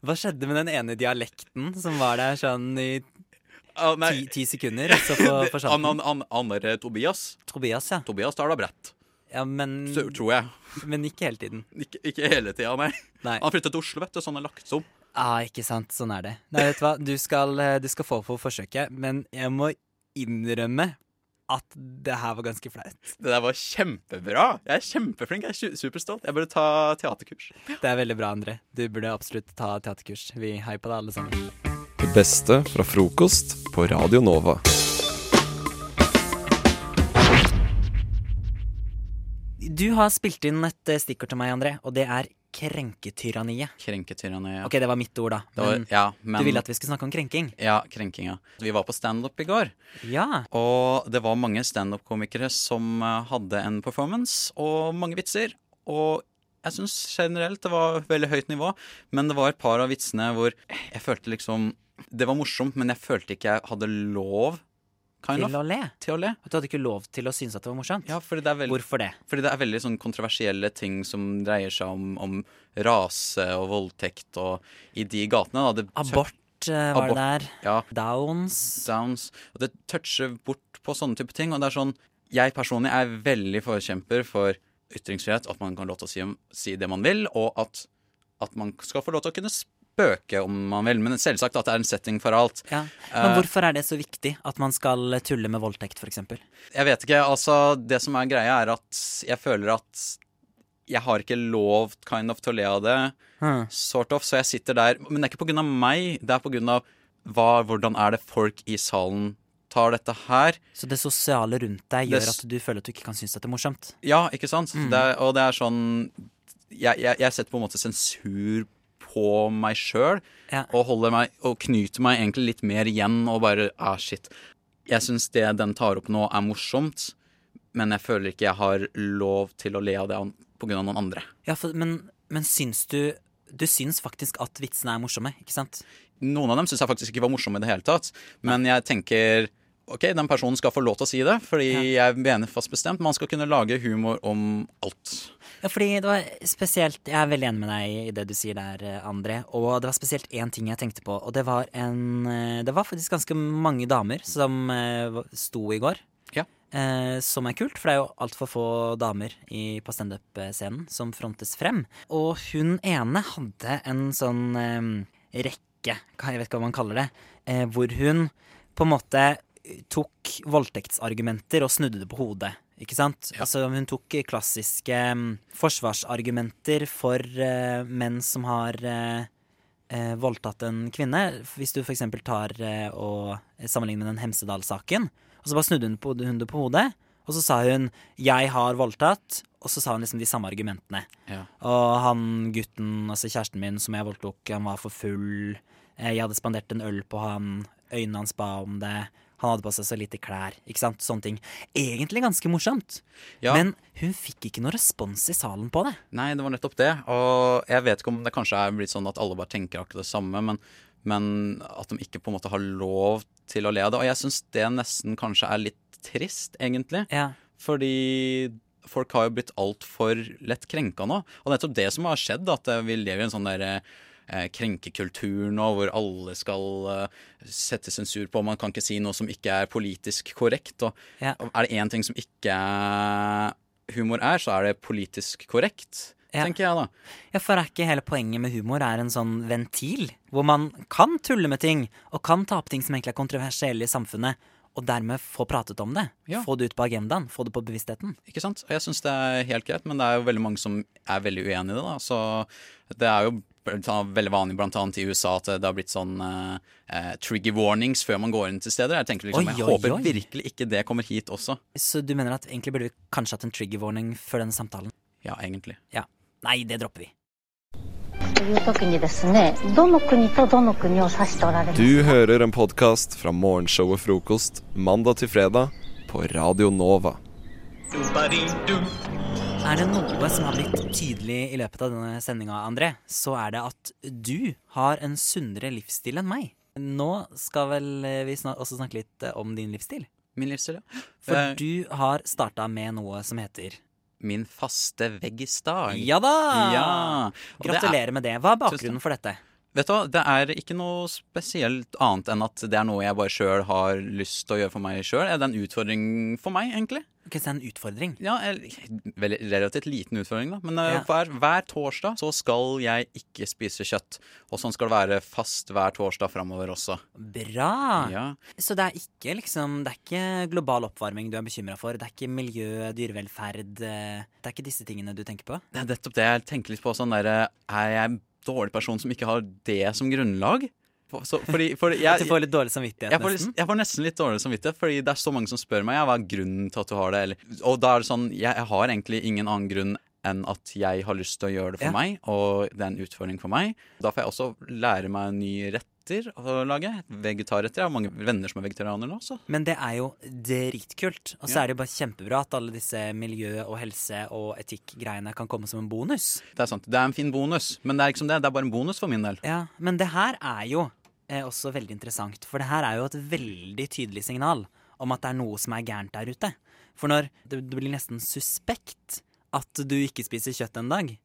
Hva skjedde med den ene dialekten som var der sånn i ti, ti sekunder? og Så for, Det- forsvant han- han- den? han- han er Tobias. Tobias, ja. Tobias tar da brett. Ja, men Så, tror jeg. Men ikke hele tiden. Ikke, ikke hele tida, nei. Han flyttet til Oslo, vet du, så han er lagt om. Ah, ikke sant. Sånn er det. Nei, vet du hva, du skal, eh, du skal få for forsøket, men jeg må innrømme at det her var ganske flaut. Det der var kjempebra. Jeg er kjempeflink. Jeg er su- superstolt. Jeg burde ta teaterkurs. Det er veldig bra, André. Du burde absolutt ta teaterkurs. Vi heier på deg, alle sammen. Det beste fra frokost på Radio Nova. Du har spilt inn et eh, stikkord til meg, André, og det er krenketyranniet. Krenketyranni, ja. Ok, det var mitt ord, da. Det var- Men ja, men- Du ville at vi skulle snakke om krenking? Ja, krenkinga. Vi var på standup i går. Ja. Og det var mange standup-komikere som eh, hadde en performance og mange vitser. Og jeg syns generelt det var veldig høyt nivå, men det var et par av vitsene hvor jeg følte liksom Det var morsomt, men jeg følte ikke jeg hadde lov. kind Til of. å le? Til å le. At du hadde ikke lov til å synes at det var morsomt? Ja, fordi det er veldig, Hvorfor det? Fordi det er veldig sånn kontroversielle ting som dreier seg om, om rase og voldtekt og i de gatene. Da. Det Abort, eh, var det der. Ja. Downs. Og det toucher bort på sånne type ting. Og det er sånn Jeg personlig er veldig forkjemper for ytringsfrihet, at man kan lov til å si, om, si det man vil, og at, at man skal få lov til å kunne spøke om man vil. Men selvsagt at det er en setting for alt. Ja. Men Eh, hvorfor er det så viktig at man skal tulle med voldtekt, f.eks.? Jeg vet ikke. Altså, det som er greia, er at jeg føler at jeg har ikke lov kind of til å le av det, Hmm. sort of, så jeg sitter der. Men det er ikke på grunn av meg, det er på grunn av hva, hvordan er det folk i salen tar dette her Så det sosiale rundt deg Det gjør s- at du føler at du ikke kan synes at det er morsomt? Ja, ikke sant? Mm. Det er, og det er sånn jeg, jeg, jeg setter på en måte sensur på meg sjøl og, holder meg- og knyter meg egentlig litt mer igjen og bare ah, shit. Jeg syns det den tar opp nå, er morsomt, men jeg føler ikke jeg har lov til å le av det an- på grunn av noen andre. Ja, for, men, men syns du Du syns faktisk at vitsene er morsomme, ikke sant? Noen av dem syns jeg faktisk ikke var morsomme i det hele tatt, men jeg tenker OK, den personen skal få lov til å si det, fordi jeg mener fast bestemt man skal kunne lage humor om alt. Ja, fordi det var spesielt Jeg er veldig enig med deg i det du sier der, eh, André. Og det var spesielt én ting jeg tenkte på, og det var en eh, Det var faktisk ganske mange damer som eh, var- sto i går. Eh, som er kult, for det er jo altfor få damer i, på standup-scenen som frontes frem. Og hun ene hadde en sånn eh, rekke, hva- jeg vet ikke hva man kaller det, eh, hvor hun på en måte tok voldtektsargumenter og snudde det på hodet. Ikke sant? Altså, hun tok klassiske mm, forsvarsargumenter for eh, menn som har eh, eh, voldtatt en kvinne. Hvis du f.eks. tar eh, og sammenligner den Hemsedal-saken. Og så bare snudde hun, på, hun det på hodet, og så sa hun 'jeg har voldtatt', og så sa hun liksom de samme argumentene. Ja. Og han gutten, altså kjæresten min som jeg voldtok, han var for full. Eh, Jeg hadde spandert en øl på han. Øynene hans ba om det. Han hadde på seg så lite klær. Ikke sant? Sånne ting. Egentlig ganske morsomt. Men hun fikk ikke noe respons i salen på det. Nei, det var nettopp det. Og jeg vet ikke om det kanskje er blitt sånn at alle bare tenker akkurat det samme, men, men at de ikke på en måte har lov til å le av det. Og jeg syns det nesten kanskje er litt trist, egentlig. Fordi folk har jo blitt altfor lett krenka nå. Og nettopp det som har skjedd, at eh, vi lever i en sånn derre Krenkekultur nå, hvor alle skal eh, sette sensur på. Man kan ikke si noe som ikke er politisk korrekt. Og Ja. og er det én ting som ikke humor er, så er det politisk korrekt. tenker jeg da. Ja, for er ikke hele poenget med humor er en sånn ventil, hvor man kan tulle med ting, og kan ta opp ting som egentlig er kontroversielle i samfunnet, og dermed få pratet om det. Ja. Få det ut på agendaen, få det på bevisstheten. Ikke sant? Og jeg syns det er helt greit, men det er jo veldig mange som er veldig uenig i det. da. Så det er jo blant annet veldig vanlig blant annet i USA at det har blitt sånn eh, eh, trigger warnings før man går inn til steder. Jeg tenker liksom, Oi, jeg oi, håper oi. virkelig ikke det kommer hit også. Så du mener at egentlig burde vi kanskje hatt en trigger warning før denne samtalen? Ja, egentlig. Ja. Nei, det dropper vi. という時にですねどの国とどの国を指しておられますか Du hører en podkast fra morgenshowet Frokost mandag til fredag på Radio Nova. Er det noe som har blitt tydelig i løpet av denne sendinga, André, så er det at du har en sunnere livsstil enn meg. Nå skal vel eh, vi snak også snakke litt eh, om din livsstil. Min livsstil, ja. For Eh, du har starta med noe som heter Min faste veggisdag. Ja da! Ja. Og det er- Gratulerer med det. Hva er bakgrunnen for dette? Vet du hva, det er ikke noe spesielt annet enn at det er noe jeg bare sjøl har lyst til å gjøre for meg sjøl. Det er en utfordring for meg, egentlig. Ok, så det er en utfordring? Ja, eller- vel, relativt liten utfordring, da. Men eh, Ja. hver, hver torsdag så skal jeg ikke spise kjøtt. Og sånn skal det være fast hver torsdag framover også. Bra! Ja. Så det er ikke liksom Det er ikke global oppvarming du er bekymra for? Det er ikke miljø, dyrevelferd eh, Det er ikke disse tingene du tenker på? Det er nettopp det jeg tenker litt på. Sånn der, eh, er jeg en dårlig person som ikke har det som grunnlag? For- Så, fordi, fordi jeg, At du får litt dårlig samvittighet, jeg får, nesten? litt- jeg får nesten litt dårlig samvittighet, fordi det er så mange som spør meg ja, hva er grunnen til at du har det. Eller, og da er det sånn, jeg, jeg har egentlig ingen annen grunn enn at jeg har lyst til å gjøre det for Ja. meg, og det er en utfordring for meg. Da får jeg også lære meg nye retter å lage. Vegetarretter. Jeg har mange venner som er vegetarianere nå, så Men det er jo dritkult. Og så Ja. er det jo bare kjempebra at alle disse miljø- og helse- og etikkgreiene kan komme som en bonus. det er sant. Det er en fin bonus, men det er liksom det. Det er bare en bonus for min del. Ja, Men det her er jo eh, også veldig interessant, for det her er jo et veldig tydelig signal om at det er noe som er gærent der ute. For når det, det blir nesten suspekt at du ikke spiser kjøtt en dag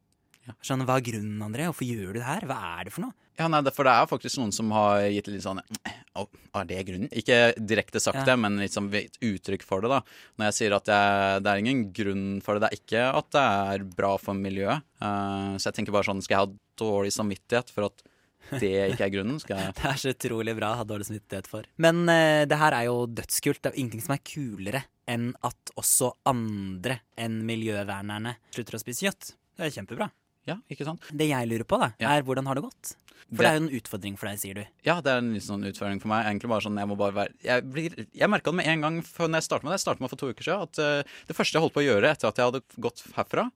Sånn, Hva er grunnen, André? Hvorfor gjør du det her? Hva er det for noe? Ja, nei, det, for det er faktisk noen som har gitt litt sånn «Å, Er det grunnen? Ikke direkte sagt Ja. det, men liksom et uttrykk for det, da. Når jeg sier at jeg, det er ingen grunn for det. Det er ikke at det er bra for miljøet. Eh, så jeg tenker bare sånn Skal jeg ha dårlig samvittighet for at det ikke er grunnen? Skal jeg Det er så utrolig bra å ha dårlig samvittighet for. Men eh, det her er jo dødskult. Det er jo ingenting som er kulere enn at også andre enn miljøvernerne slutter å spise kjøtt. Det er kjempebra. Ja, ikke sant? Det jeg lurer på, da, er hvordan har det gått? For det, er jo en utfordring for deg, sier du. Ja, det er en litt sånn utfordring for meg. Egentlig bare sånn, Jeg må bare være Jeg, blir, jeg merka det med en gang før når jeg starta med det. Jeg starta med for to uker siden at eh, det første jeg holdt på å gjøre etter at jeg hadde gått herfra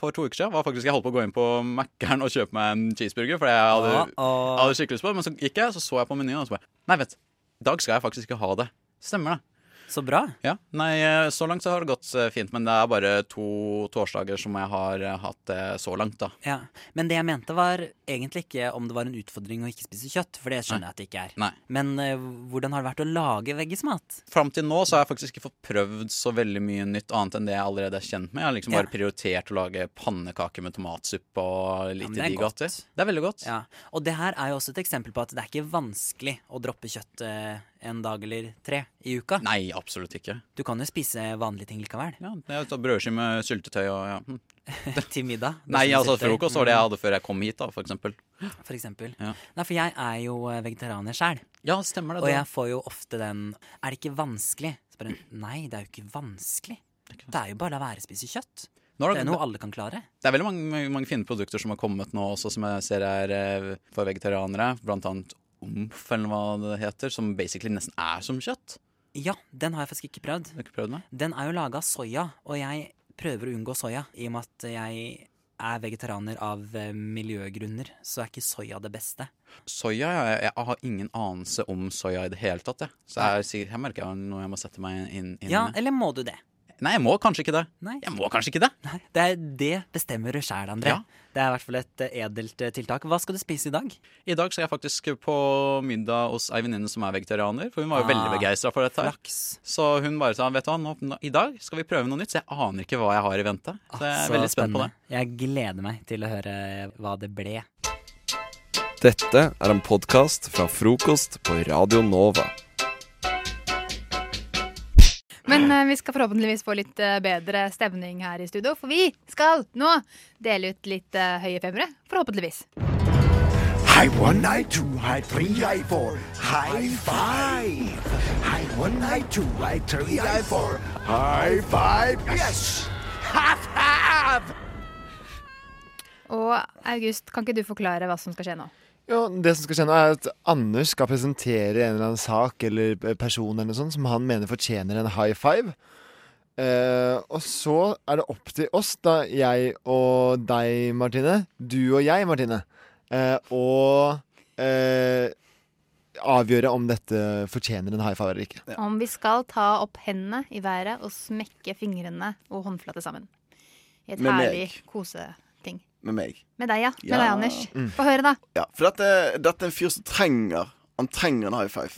for to uker siden, var faktisk jeg holdt på å gå inn på Mækkern og kjøpe meg en cheeseburger. For jeg hadde, Uh-oh. hadde skikkelig lyst på det. Men så gikk jeg, så så jeg på menyen, og så bare Nei, vent. I dag skal jeg faktisk ikke ha det. Stemmer det. Så bra. Ja, nei, eh, Så langt så har det gått eh, fint, men det er bare to torsdager som jeg har eh, hatt det så langt, da. Ja. Men det jeg mente, var egentlig ikke om det var en utfordring å ikke spise kjøtt, for det skjønner jeg at det ikke er. Nei. Men eh, hvordan har det vært å lage veggismat? Fram til nå så har jeg faktisk ikke fått prøvd så veldig mye nytt annet enn det jeg allerede er kjent med. Jeg har liksom bare Ja. prioritert å lage pannekaker med tomatsuppe og Ja, litt men det i er de gater. Det er veldig godt. Ja. Og det her er jo også et eksempel på at det er ikke vanskelig å droppe kjøtt eh, en dag eller tre i uka. Nei, absolutt ikke. Du kan jo spise vanlige ting likevel. Ja, det er jo sånn Brødskive med syltetøy og ja. mm. Til middag. Mm. Det Nei, som altså sitter- frokost var det jeg hadde før jeg kom hit, da, for eksempel. For eksempel. Ja. Nei, for jeg er jo eh, vegetarianer sjæl. Ja, stemmer det, Og det. jeg får jo ofte den Er det ikke vanskelig? Så bare, Nei, det er jo ikke vanskelig. Det er jo bare å la være å spise kjøtt. Nå har det det- er noe alle kan klare. Det er veldig mange, mange fine produkter som har kommet nå også, som jeg ser er eh, for vegetarianere. Blant annet Omf, eller hva det heter, som basically nesten er som kjøtt. Ja, den har jeg faktisk ikke prøvd. Den er jo laga av soya, og jeg prøver å unngå soya. I og med at jeg er vegetarianer av eh, miljøgrunner, så er ikke soya det beste. Soya, jeg, jeg har ingen anelse om soya i det hele tatt. Jeg. Så jeg, er sikkert- jeg merker jeg noe jeg må sette meg inn, inn Ja, i. eller må du det? Nei, jeg må kanskje ikke det. Nei. Jeg må kanskje ikke det. Nei, det, er, det bestemmer du sjæl, André. Ja. Det er i hvert fall et eh, edelt eh, tiltak. Hva skal du spise i dag? I dag skal jeg faktisk på middag hos ei venninne som er vegetarianer. For hun var Ah, jo veldig begeistra for dette. her. Så hun bare sa vet du hva, nå, nå, i dag skal vi prøve noe nytt. Så jeg aner ikke hva jeg har i vente. Så jeg er Ah, Så veldig spent på det. spennende. Jeg gleder meg til å høre hva det ble. Dette er en podkast fra frokost på Radio Nova. Men eh, vi skal forhåpentligvis få litt eh, bedre stemning her i studio, for vi skal nå dele ut litt eh, høye femmere. Forhåpentligvis. Hei one, hei to, hei tre, hei four. High five. Hei one, hei to, hei tre, hei four. High five. Yes! Half half! Og August, kan ikke du forklare hva som skal skje nå? Ja, det som skal skje nå er at Anders skal presentere en eller annen sak eller person eller noe sånt som han mener fortjener en high five. Eh, og så er det opp til oss, da jeg og deg, Martine. Du og jeg, Martine. eh, å eh, avgjøre om dette fortjener en high five eller ikke. Om vi skal ta opp hendene i været og smekke fingrene og håndflate sammen. I et Med meg. herlig koseting. Med meg. Med deg, ja. Med Ja. deg, Anders. Mm. Få høre, da. Ja, for dette, dette er en fyr som trenger Han trenger en high five.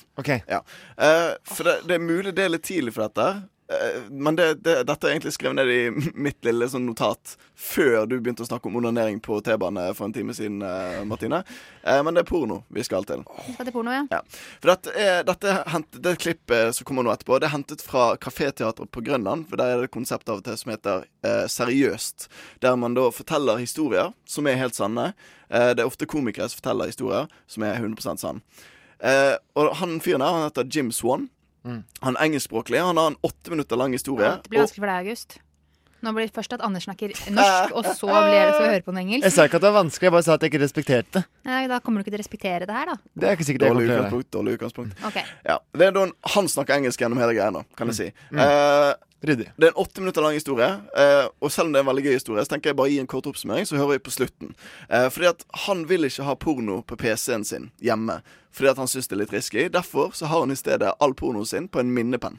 Ja. Eh, for det, det er mulig det er litt tidlig for dette. her. Eh, men det, det, dette er egentlig skrevet ned i mitt lille sånn notat før du begynte å snakke om onanering på T-bane for en time siden, eh, Martine. Eh, men det er porno vi skal til. Vi Skal til porno, ja. Ja. For dette, er, dette er hent, det klippet som kommer nå etterpå, det er hentet fra kaféteatret på Grønland. For der er det et konsept av og til som heter eh, Seriøst. Der man da forteller historier som er helt sanne. Eh, det er ofte komikere som forteller historier som er 100 sann. Eh, og han fyren der, han heter Jim Swan. Mm. Han er engelskspråklig. Han har en åtte minutter lang historie. Det blir og- vanskelig for deg, August. Nå blir det først at Anders snakker norsk, og så blir det så vi hører på noe Jeg sa engelsk. ikke at det var vanskelig, jeg bare sa at jeg ikke respekterte det. Nei, da kommer du ikke til å respektere det her, da. Det er ikke sikkert jeg Dårlig kommer til å gjøre. utgangspunkt. Dårlig utgangspunkt. Ok. Ja, det er da en, Han snakker engelsk gjennom hele greia nå, kan jeg si. Mm. Eh, Ryddig. det er en åtte minutter lang historie, eh, og selv om det er en veldig gøy historie, så tenker jeg bare gi en kort oppsummering, så hører vi på slutten. Eh, fordi at han vil ikke ha porno på PC-en sin hjemme, fordi at han syns det er litt risky. Derfor så har han i stedet all pornoen sin på en minnepenn.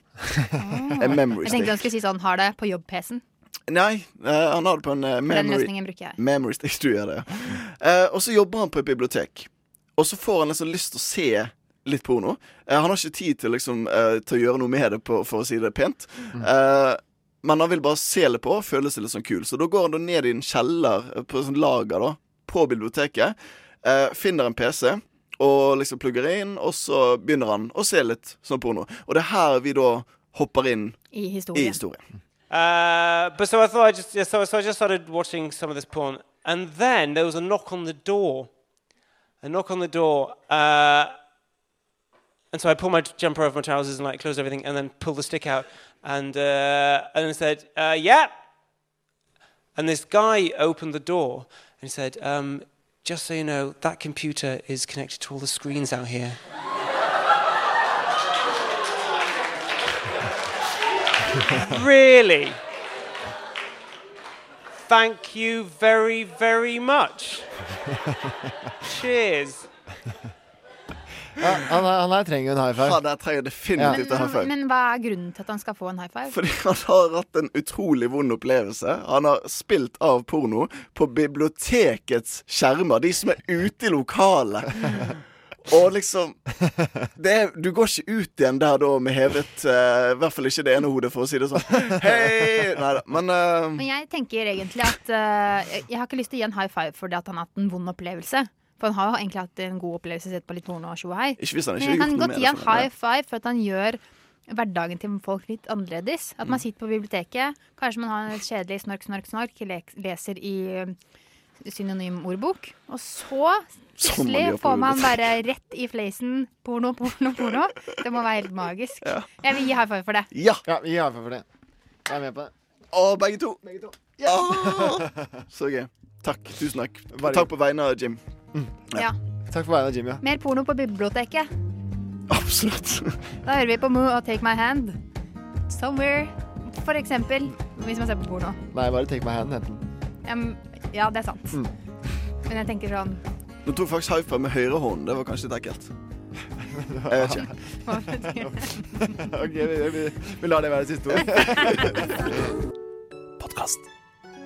en memory Jeg tenkte han stick. skulle si sånn, har det på jobb-PC-en. Nei, eh, han har det på en eh, For den memory, løsningen bruker jeg. memory stick. Du gjør det, ja. Eh, og så jobber han på et bibliotek. Og så får han liksom lyst til å se litt porno. Eh, han har ikke tid til, liksom, eh, til å gjøre noe med det, på, for å si det pent. Eh, men han vil bare se litt på og føle seg litt sånn kul. Så da går han da ned i en kjeller eh, på sånn lager da, på biblioteket. eh, finner en PC og liksom plugger inn, og så begynner han å se litt sånn porno. Og det er her vi da hopper inn I i historien. historien. Uh, but so I thought I just yeah, so so I just started watching some of this porn, and then there was a knock on the door, a knock on the door, uh, and so I pulled my jumper over my trousers and like closed everything, and then pulled the stick out, and uh, and then said, uh, "Yeah," and this guy opened the door, and he said, um, Just so you know, that computer is connected to all the screens out here. really? Thank you very, very much. Cheers. Ja, han, her- han her trenger jo en high five. Han her trenger definitivt en high five. Men hva er grunnen til at han skal få en high five? Fordi han har hatt en utrolig vond opplevelse. Han har spilt av porno på bibliotekets skjermer, de som er ute i lokalet. Og liksom det, er- Du går ikke ut igjen der da med hevet eh, I hvert fall ikke det ene hodet, for å si det sånn. Hei! Nei da. Men eh, Men jeg tenker egentlig at eh, jeg- Jeg har ikke lyst til å gi en high five fordi at han har hatt en vond opplevelse. For han har jo egentlig hatt en god opplevelse sett på litt porno og tjo og hei. Ikke hvis han ikke Men jeg har kan gjort noe godt med gi en det for han, high five for at han gjør hverdagen til folk litt annerledes. At man Mm. sitter på biblioteket, kanskje man har en kjedelig snork, snork, snork, lek- leser i eh, synonym ordbok, og så Som man gjør plutselig på får man biblioteket. bare rett i fleisen porno, porno, porno. Det må være helt magisk. Ja. Jeg vil gi high five for det. ja. ja. Gi high five for det. Jeg er med på det. Og begge to. Ja! Så gøy. Takk. Tusen takk. Bare- Takk på vegne av Jim. ja. Takk for veien av Jimmy. Ja. Mer porno på biblioteket. Absolutt. Da hører vi på Moo og Take My Hand. Somewhere. For eksempel, hvis man ser på porno. Nei, bare take my hand, heter den. Ja, men- Ja, det er sant. Mm. Men jeg tenker sånn Nå tok faktisk high five med høyre hånd. Det var kanskje litt ekkelt. Eh, Jeg vet ikke. hva betyr det? OK, vi, vi, vi lar det være siste ord. Podkast.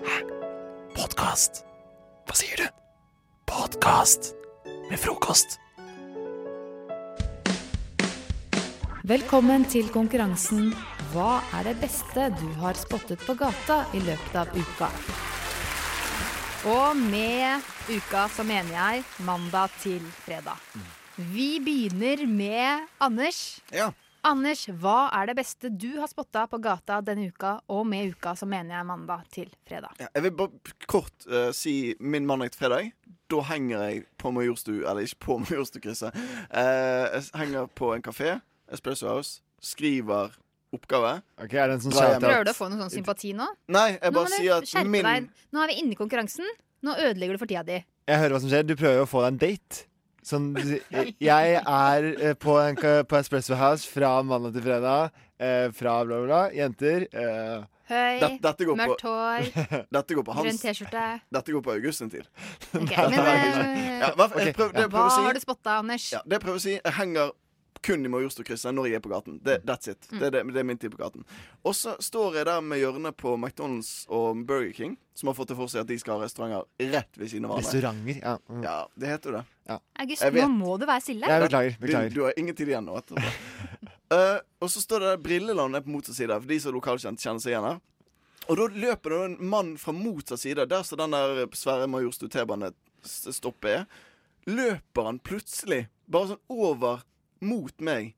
Hæ? Podkast? Hva sier du? Podkast med frokost. Velkommen til konkurransen Hva er det beste du har spottet på gata i løpet av uka? Og med uka så mener jeg mandag til fredag. Vi begynner med Anders. Anders, hva er det beste du har spotta på gata denne uka, og med uka så mener jeg mandag til fredag? Ja, Jeg vil bare kort eh, si min mandag til fredag. Da henger jeg på Majorstu Eller ikke på Majorstukrysset. Uh, jeg s- henger på en kafé, Espresso House, skriver oppgave. Ok, er det en sånn Drar hjem. Prøver du å få noe sånn sympati nå? Nei, Nå jeg må bare du sier at skjerpe min deg. Nå er vi inne i konkurransen. Nå ødelegger du for tida di. Jeg hører hva som skjer. Du prøver å få deg en date. Sånn, du sier, jeg er eh, på, en, ka- på Espresso House fra mandag til fredag. Eh, fra bla, bla, bla. Jenter. Eh. Høy, Det- dette går på- mørkt hår, Dette går på grønn hans T-skjorte. Dette går på August sin tid. Ok, Dette men, er August. eh, ja, hva, jeg prøv, det jeg Hva prøver å si har du spotta, Anders? Ja, det jeg prøver å si, jeg henger kun i Majorstukrysset når jeg er på gaten. Mm. Det, that's it. Det, er det, det er min tid på gaten. Og så står jeg der med hjørnet på McDonald's og Burger King, som har fått det for seg at de skal ha restauranter rett ved siden av hverandre. Restauranter, ja. Mm. Ja, det heter jo det. August, Jeg nå vet. må du være stille. Du- Du, har ingen tid igjen nå. etterpå. Eh, og så står det der Brillelandet på motsatt side, for de som er lokalkjent, kjenner seg igjen her. Og da løper det en mann fra motsatt side, der står den der svære Majorstu T-banestoppet er. Løper han plutselig bare sånn over mot meg.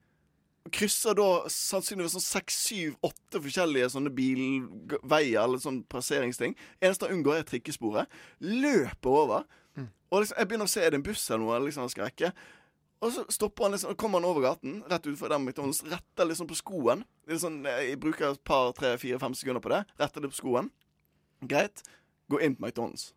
Og Krysser da sannsynligvis sånn seks, syv, åtte forskjellige sånne bilveier eller sånn passeringsting. Eneste han unngår, er trikkesporet. Løper over. Og liksom, jeg begynner å se er det en buss eller noe. Liksom, han skal rekke og så stopper han liksom, og kommer han over gaten, rett utenfor den McDonald's, retter liksom på skoen. Det er sånn, jeg bruker et par, tre, fire, fem sekunder på det. Retter det på skoen. Greit. Gå inn på McDonald's.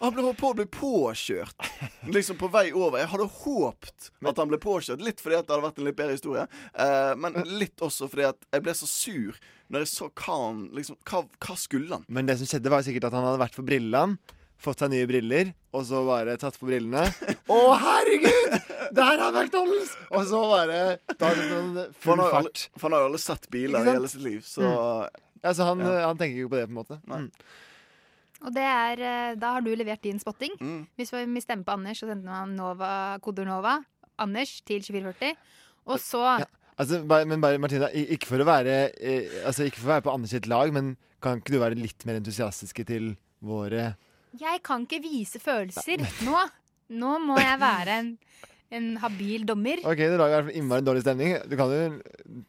Han ble på å bli påkjørt. Liksom på vei over. Jeg hadde håpt at han ble påkjørt. Litt fordi at det hadde vært en litt bedre historie, eh, men litt også fordi at jeg ble så sur når jeg så hva han liksom, hva, hva skulle han? Men det som skjedde, var sikkert at han hadde vært på Brilleland, fått seg nye briller, og så bare tatt på brillene. Å, herregud! Der er McDonald's! Og så bare ta sånn full For han har jo fart. aldri, for han har jo aldri sett biler Ikke sant? i Mm. hele sitt liv, så Ja, så han, Ja. eh, han tenker ikke på det, på en måte. Mm. Og det er, eh, da har du levert din spotting. Mm. Hvis vi stemmer på Anders, så sender man Nova, kodeord Nova, Anders, til 2440. Og så Altså, bare, men bare, Martina, i- ikke for å være eh, Altså, ikke for å være på Anders sitt lag, men kan ikke du være litt mer entusiastiske til våre Jeg kan ikke vise følelser nå. Nå må jeg være en, en habil dommer. OK, du lager i hvert fall innmari dårlig stemning. Du kan jo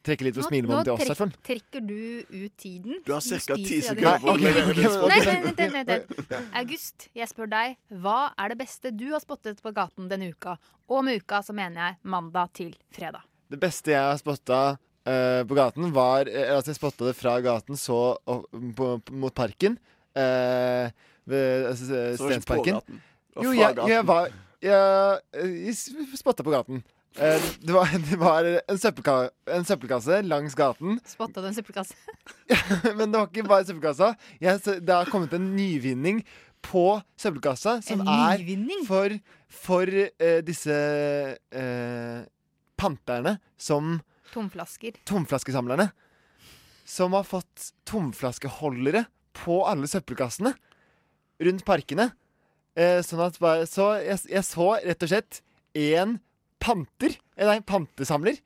trekke litt på Nå- smilebåndet til oss, i hvert fall. Nå trekk- trekker du ut tiden. Du har Nå cirka ti spiser jeg sekunder det. på å Nei, levere ok, din ok, spotting. Nei, vent, vent, vent, vent, vent. August, jeg spør deg. Hva er det beste du har spottet på gaten denne uka? Og med uka så mener jeg mandag til fredag. Det beste jeg har spotta eh, på gaten, var eh, Altså, jeg spotta det fra gaten, så opp, på, mot parken. eh, ved eh, s- eh, Så det var ikke på Stensparken. gaten? Det var Jo, fra jeg, gaten. jeg var Jeg, jeg s- spotta på gaten. Eh, Det var, det var en, søppelka, en søppelkasse langs gaten. Spotta du en søppelkasse? Men det var ikke bare søppelkassa. Jeg, så det har kommet en nyvinning på søppelkassa, som En er for, for eh, disse eh, panterne som Tomflasker. Tomflaskesamlerne. Som har fått tomflaskeholdere på alle søppelkassene rundt parkene. Eh, sånn at bare, Så jeg, jeg så rett og slett én panter, eh, nei, pantesamler,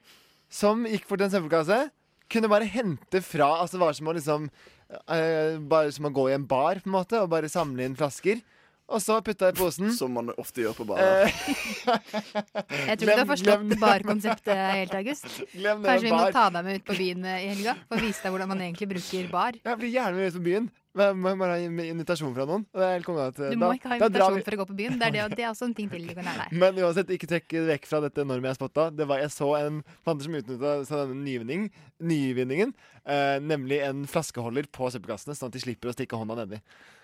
som gikk bort til en søppelkasse. Kunne bare hente fra altså Det var som å liksom eh, Bare som å gå i en bar, på en måte, og bare samle inn flasker. Og så putta jeg i posen. Eh, Som man ofte gjør på barer. Jeg tror ikke du har forstått barkonseptet helt, August. Glem det med Kanskje vi må bar. ta deg med ut på byen eh, i helga for å vise deg hvordan man egentlig bruker bar. Jeg blir gjerne med ut på byen. Men jeg må bare ha en invitasjon fra noen. Og det er helt konge at eh, Du da- må ikke ha da drar invitasjon vi- for å gå på byen. Det er, det, det er også en ting til du kan lære deg. Men uansett, ikke trekk vekk fra dette enorme jeg spotta. Det var, jeg så en planter som utnytta denne nyvinning, nyvinningen, eh, nemlig en flaskeholder på søppelkassene, sånn at de slipper å stikke hånda nedi.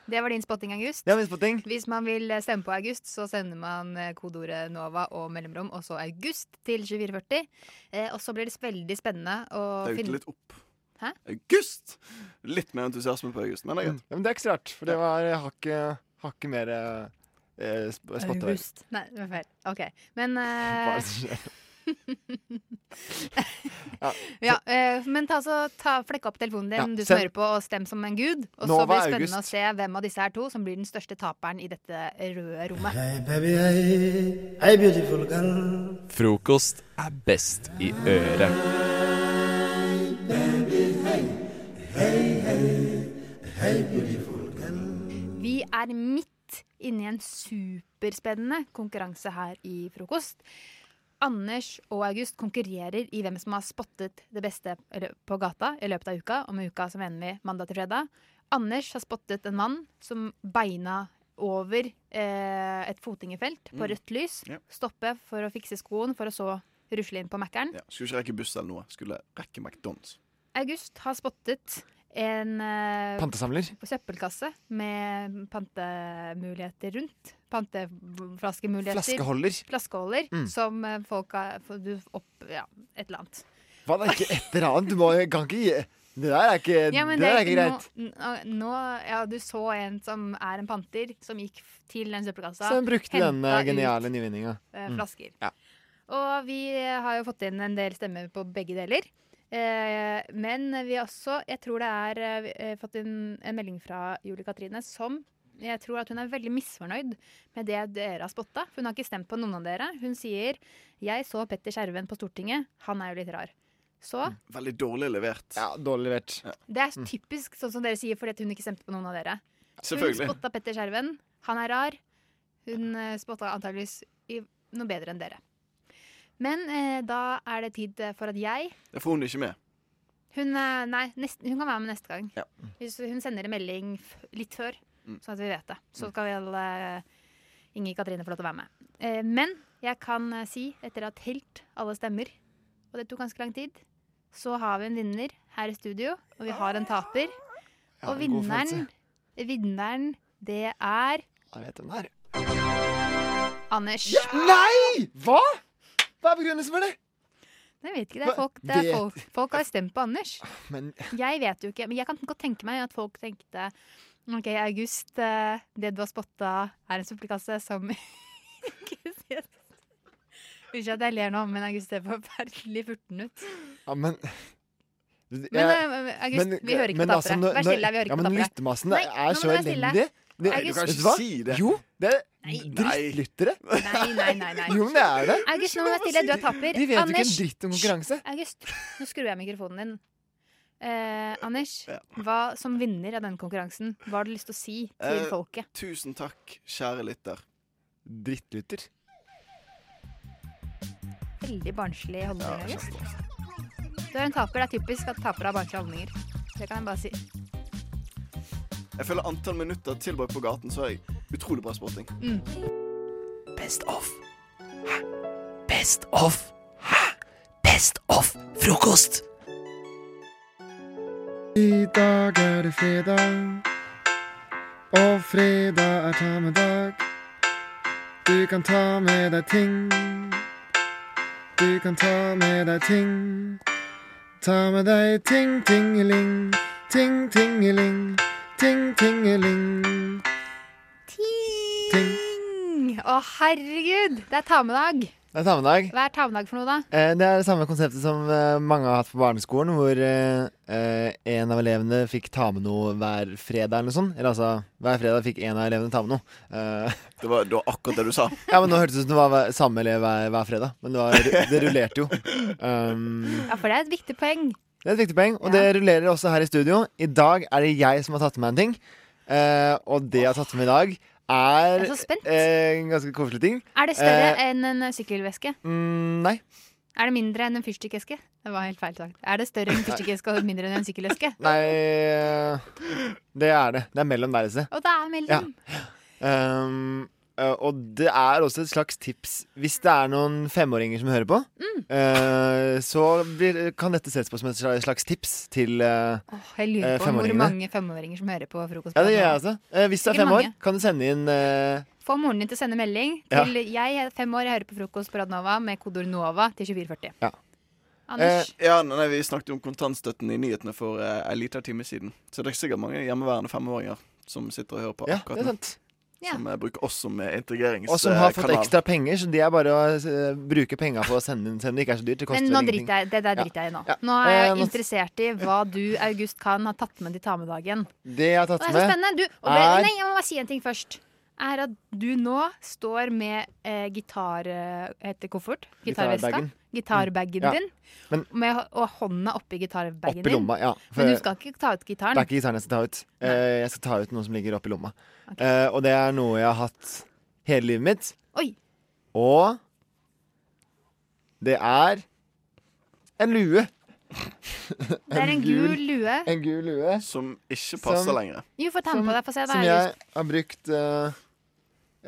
Det var din spotting, August. Det var min spotting. Hvis man vil eh, stemme på August, så sender man eh, kodeordet NOVA og mellomrom, og så August til 2440. Eh, og så blir det veldig spennende å Det er jo finne ikke litt opp. Hæ? August! Litt mer entusiasme på August, men det er greit. Ja, men det er ikke så rart, for det var eh, hakket hakket mer eh, sp spotta. August. Nei, det var feil. OK. Men Hva er eh, det som skjer? ja, eh, men ta, så, ta flekk opp telefonen din, Ja, du som send- hører på, og stem som en gud. Og så Nova blir det spennende August. å se hvem av disse her to som blir den største taperen i dette røde rommet. baby, hey, hey, beautiful girl. Frokost er best i øret. Vi er midt inne i en superspennende konkurranse her i frokost. Anders og August konkurrerer i hvem som har spottet det beste i lø- på gata i løpet av uka. Og med uka så mener vi mandag til fredag. Anders har spottet en mann som beina over eh, et fotgjengerfelt på Mm. rødt lys. Ja. Stoppe for å fikse skoen, for å så rusle inn på Mækkern. Mm. Skulle ikke rekke buss eller noe. Skulle rekke McDonald's. August har spottet en eh, Pantesamler. søppelkasse med pantemuligheter rundt. Panteflaskemuligheter. Flaskeholder. Flaskeholder, Mm. Som eh, folk har for Du opp... Ja, et eller annet. Hva, det er ikke et eller annet? Du må, kan ikke gi Det der er ikke, Ja, men Eh, det der er det ikke er greit. ikke noe- n- ah, Nå, ja, du så en som er en panter, som gikk f- til den søppelkassa. Så hun brukte denne hentet ut, geniale nyvinninga. eh, Mm. flasker. Ja. Og vi har jo fått inn en del stemmer på begge deler. Eh, men vi har også, jeg tror det er eh, vi har fått inn en melding fra Julie Katrine som jeg tror at hun er veldig misfornøyd med det dere har spotta. for Hun har ikke stemt på noen av dere. Hun sier 'Jeg så Petter Skjerven på Stortinget. Han er jo litt rar'. Så Veldig dårlig levert. Ja, dårlig levert. Mm. det er typisk sånn som dere sier fordi at hun ikke stemte på noen av dere. Selvfølgelig. Hun spotta Petter Skjerven. Han er rar. Hun eh, spotta antageligvis i noe bedre enn dere. Men eh, da er det tid eh, for at jeg Det får hun ikke med. Hun, eh, nei, nesten, hun kan være med neste gang. Ja. Hvis hun sender en melding f litt før, Mm. sånn at vi vet det. Så skal vel uh, Inger Katrine få lov til å være med. Eh, men jeg kan eh, si, etter å ha telt alle stemmer, og det tok ganske lang tid, så har vi en vinner her i studio, og vi har en taper. Ja, Og en god vinneren, vinneren, det er Jeg vet hvem det er. Anders. Nei! Hva?! Hva er begrunnelsen for det? Jeg vet ikke, det er Hva? folk, det er Vet- folk, folk har stemt på Anders. Men Jeg vet jo ikke, men jeg kan godt tenke meg at folk tenkte OK, August, eh, det du har spotta, er en søppelkasse som Ikke si det. Unnskyld at jeg ler nå, men August ser forferdelig furten ut. Ja, men Men, eh, August, vi hører ikke på tapere. Vær stille, vi hører ikke på altså, ja, men tapere. lyttemassen Nei, er nå må så du være stille. elendig. Det- August- Du kan vet ikke hva? si det. Jo, det er drittlyttere. Nei, nei, nei. nei. Jo, men det er det. August, nå må du være stille. Du er taper. De vet jo ikke Anders, en dritt om konkurranse. August, nå skrur jeg mikrofonen din. Eh, Anders, hva som vinner av den konkurransen, hva har du lyst til å si til Eh, folket? Tusen takk, kjære lytter. Drittlytter. Veldig barnslig Ja, holdning. August. Du er en taper. Det er typisk at tapere har barnslige holdninger. Det kan jeg bare si. Jeg føler antall minutter tilbrakt på gaten, så er jeg utrolig bra sporting. Mm. Best of. Hæ? Best of. Hæ? Best of frokost. I dag er det fredag. Og fredag er ta med dag. Du kan ta med deg ting. Du kan ta med deg ting. Ta med deg ting, tingeling. Ting, tingeling. Ting, tingeling. Mm. Å, herregud! Det er ta med dag. Det er ta med dag. Hva er ta med dag for noe, da? Eh, Det er det samme konseptet som eh, mange har hatt på barneskolen, hvor eh, eh, en av elevene fikk ta med noe hver fredag eller noe sånt. Eller altså, hver fredag fikk en av elevene ta med noe. Eh, Det var, det var akkurat det du sa. Ja, men Nå hørtes det ut som det var hver- samme elev hver, hver fredag, men det, var, det rullerte jo. Um, Ja, For det er et viktig poeng. det er et viktig poeng, og det rullerer også her i studio. I dag er det jeg som har tatt med en ting, eh, og det jeg har tatt med i dag, er, Jeg er så spent. eh, en ganske koselig ting. Er det større Eh, enn en sykkelveske? mm, nei. Er det mindre enn en fyrstikkeske? Det var helt feil sagt. Er det større enn en fyrstikkeske og mindre enn en sykkelveske? Nei Det er det. Det er mellom der et sted. Og det er mellom. Ja. Um, eh, og det er også et slags tips hvis det er noen femåringer som hører på. Mm. eh, så blir, kan dette ses på som et sla- slags tips til eh, Jeg eh, lurer på hvor femåringene. mange femåringer som hører på frokost. Ja, det gjør jeg også. Eh, hvis du er Sikkert fem år, mange. kan du sende inn eh, Få moren din til å sende melding Ja. til 'Jeg er fem år, jeg hører på frokost på Radnova' med kodeord 'Nova' til 2440. Ja. Anders? Eh, ja, nei, nei, Vi snakket jo om kontantstøtten i nyhetene for eh, en liten time siden. Så det er sikkert mange hjemmeværende femåringer som sitter og hører på Ja, akkurat det er nå. Som eh, bruker oss som eh, integreringskanal. Og som har fått ekstra penger, så det er bare å eh, bruke penga på å sende inn, selv om det ikke er så dyrt. Det koster Men nå vel ingenting. driter jeg, det der Ja. driter jeg i nå. Ja. Nå er jeg Eh, nå- interessert i hva du, August, kan ha tatt med til tamedagen. Det jeg har Og tatt det er så med, spennende. Du, og det, er- nei, jeg må bare si en ting først. Er at du nå står med eh, gitar... eh, Heter det koffert? Gitarveska? Gitarbagen. Gitarbagen Mm. Ja. din. Men- Med, hå- og hånda oppi gitarbagen Oppi lomma, ja. din. Men du skal ikke ta ut gitaren. Det er ikke gitaren jeg skal ta ut. Eh, jeg skal ta ut noe som ligger oppi lomma. Eh, og det er noe jeg har hatt hele livet mitt. Oi. Og det er en lue. Det er en gul lue. En gul lue. Som ikke passer Som- lenger. Jo, få ta den på deg. Få se. Da, Som jeg August. har brukt eh,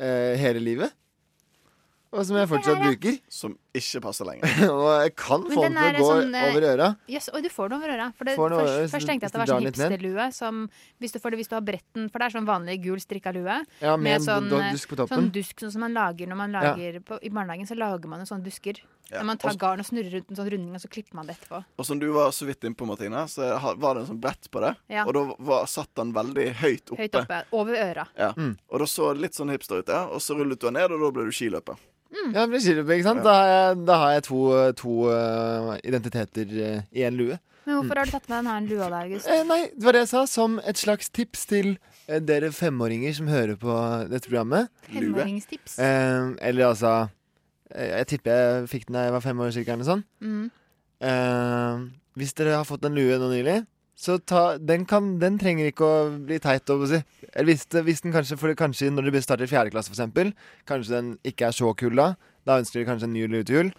eh, hele livet. Og som jeg fortsatt bruker. Som ikke passer lenger. og jeg kan få den til å gå eh, over øra. Jøss, oi, du får den over øra. For det, Får den over øra, først, så først tenkte jeg at det hvis var sånn du drar den litt hipsterlue. Som, hvis, du, for det, hvis du har bretten For det er sånn vanlig gul strikka lue. Ja, med en do- eh, dusk på toppen. sånn dusk sånn som man lager når man Ja. lager på, I barnehagen så lager man jo sånne dusker. Ja, Når man tar og- garn og snurrer rundt en sånn runding, og så klipper man det etterpå. Og som du var så vidt innpå, Martine, så ha- var det en sånn brett på det. Ja. Og da var, satt den veldig høyt oppe. Høyt oppe. Over øra. Ja. Mm. Og da så det litt sånn hipster ut, ja. Og så rullet du den ned, og da ble du skiløper. Ja, det blir skiløping, ikke sant? Da har jeg, da har jeg to, to eh, identiteter eh, i én lue. Men hvorfor har du tatt med den her lua da, August? Eh, nei, det var det jeg sa, som et slags tips til eh, dere femåringer som hører på dette programmet. Femåringstips. Eh, eller altså eh, Jeg tipper jeg fikk den da jeg var fem år, cirka, eller noe sånt. Mm. Eh, hvis dere har fått en lue nå nylig, så ta Den, kan, den trenger ikke å bli teit. holdt jeg på å si. Eller hvis, det- hvis den kanskje, for det, kanskje når dere starter i fjerde klasse, for eksempel, kanskje den ikke er så kul da. Da ønsker dere kanskje en ny lue til jul.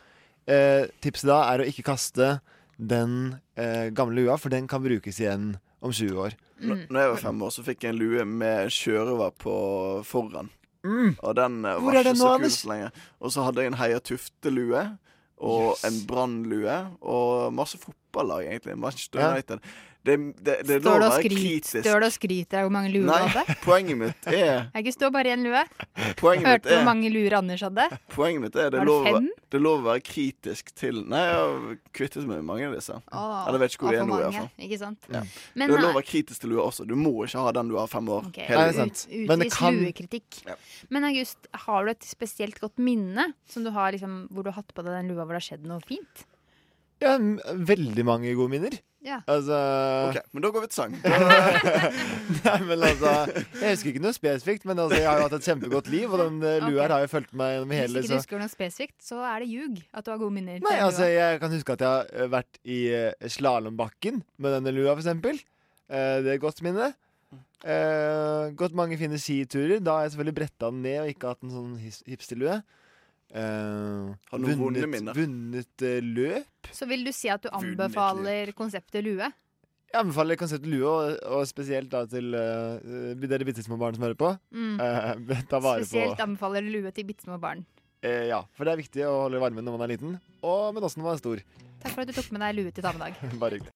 Eh, tipset da er å ikke kaste den eh, gamle lua, for den kan brukes igjen om 20 år. Når, Mm. når jeg var fem år, så fikk jeg en lue med sjørøver på foran. Mm. Og den eh, Hvor var er ikke den så nå, kul Anders? så lenge. Og så hadde jeg en Heia Tufte-lue. Og en brannlue. Og masse fotballag, egentlig. Manchester Ja. United. Det, det, det er Står lov du å og være skryter kritisk. står du og skryter av hvor mange luer du hadde? Nei, poenget mitt er August, du har bare én lue. Poenget mitt Hørte hvor er mange luer Anders hadde? Poenget mitt er det Var det er lov, å- fem? det er lov å være kritisk til Nei, jeg har kvittet meg med mange av disse. Åh, Eller vet ikke hvor de er altfor nå, i mange, hvert fall. Ikke sant? Ja. Men det er nei. lov å være kritisk til lua også. Du må ikke ha den du har fem år. Ok, hele ut- livet. Utvis luekritikk. Men August, har du et spesielt godt minne som du har, liksom, hvor du har hatt på deg den lua hvor det har skjedd noe fint? Ja, m- veldig mange gode minner. Ja. Altså Ok, men da går vi til sang. Nei, men altså Jeg husker ikke noe spesifikt, men altså, jeg har jo hatt et kjempegodt liv, og den eh, lua her har jo fulgt meg gjennom Hvis hele ikke du så husker noe spesifikt, så er det ljug at du har gode minner. til Nei, den lua. altså, jeg kan huske at jeg har eh, vært i slalåmbakken med denne lua, for eksempel. Eh, Det er et godt minne. Eh, gått mange fine skiturer. Da har jeg selvfølgelig bretta den ned og ikke hatt en sånn his- hipsterlue. Eh, Har du noen vonde vunnet, minner? vunnet eh, løp. Så vil du si at du anbefaler konseptet lue? Jeg anbefaler konseptet lue, og, og spesielt da til eh, dere bitte små barn som hører på. Mm. Eh, ta vare Spesielt på anbefaler du lue til bitte små barn. Eh, Ja, for det er viktig å holde varmen når man er liten, og, men også når man er stor. Takk for at du tok med deg lue til damedag. Bare hyggelig.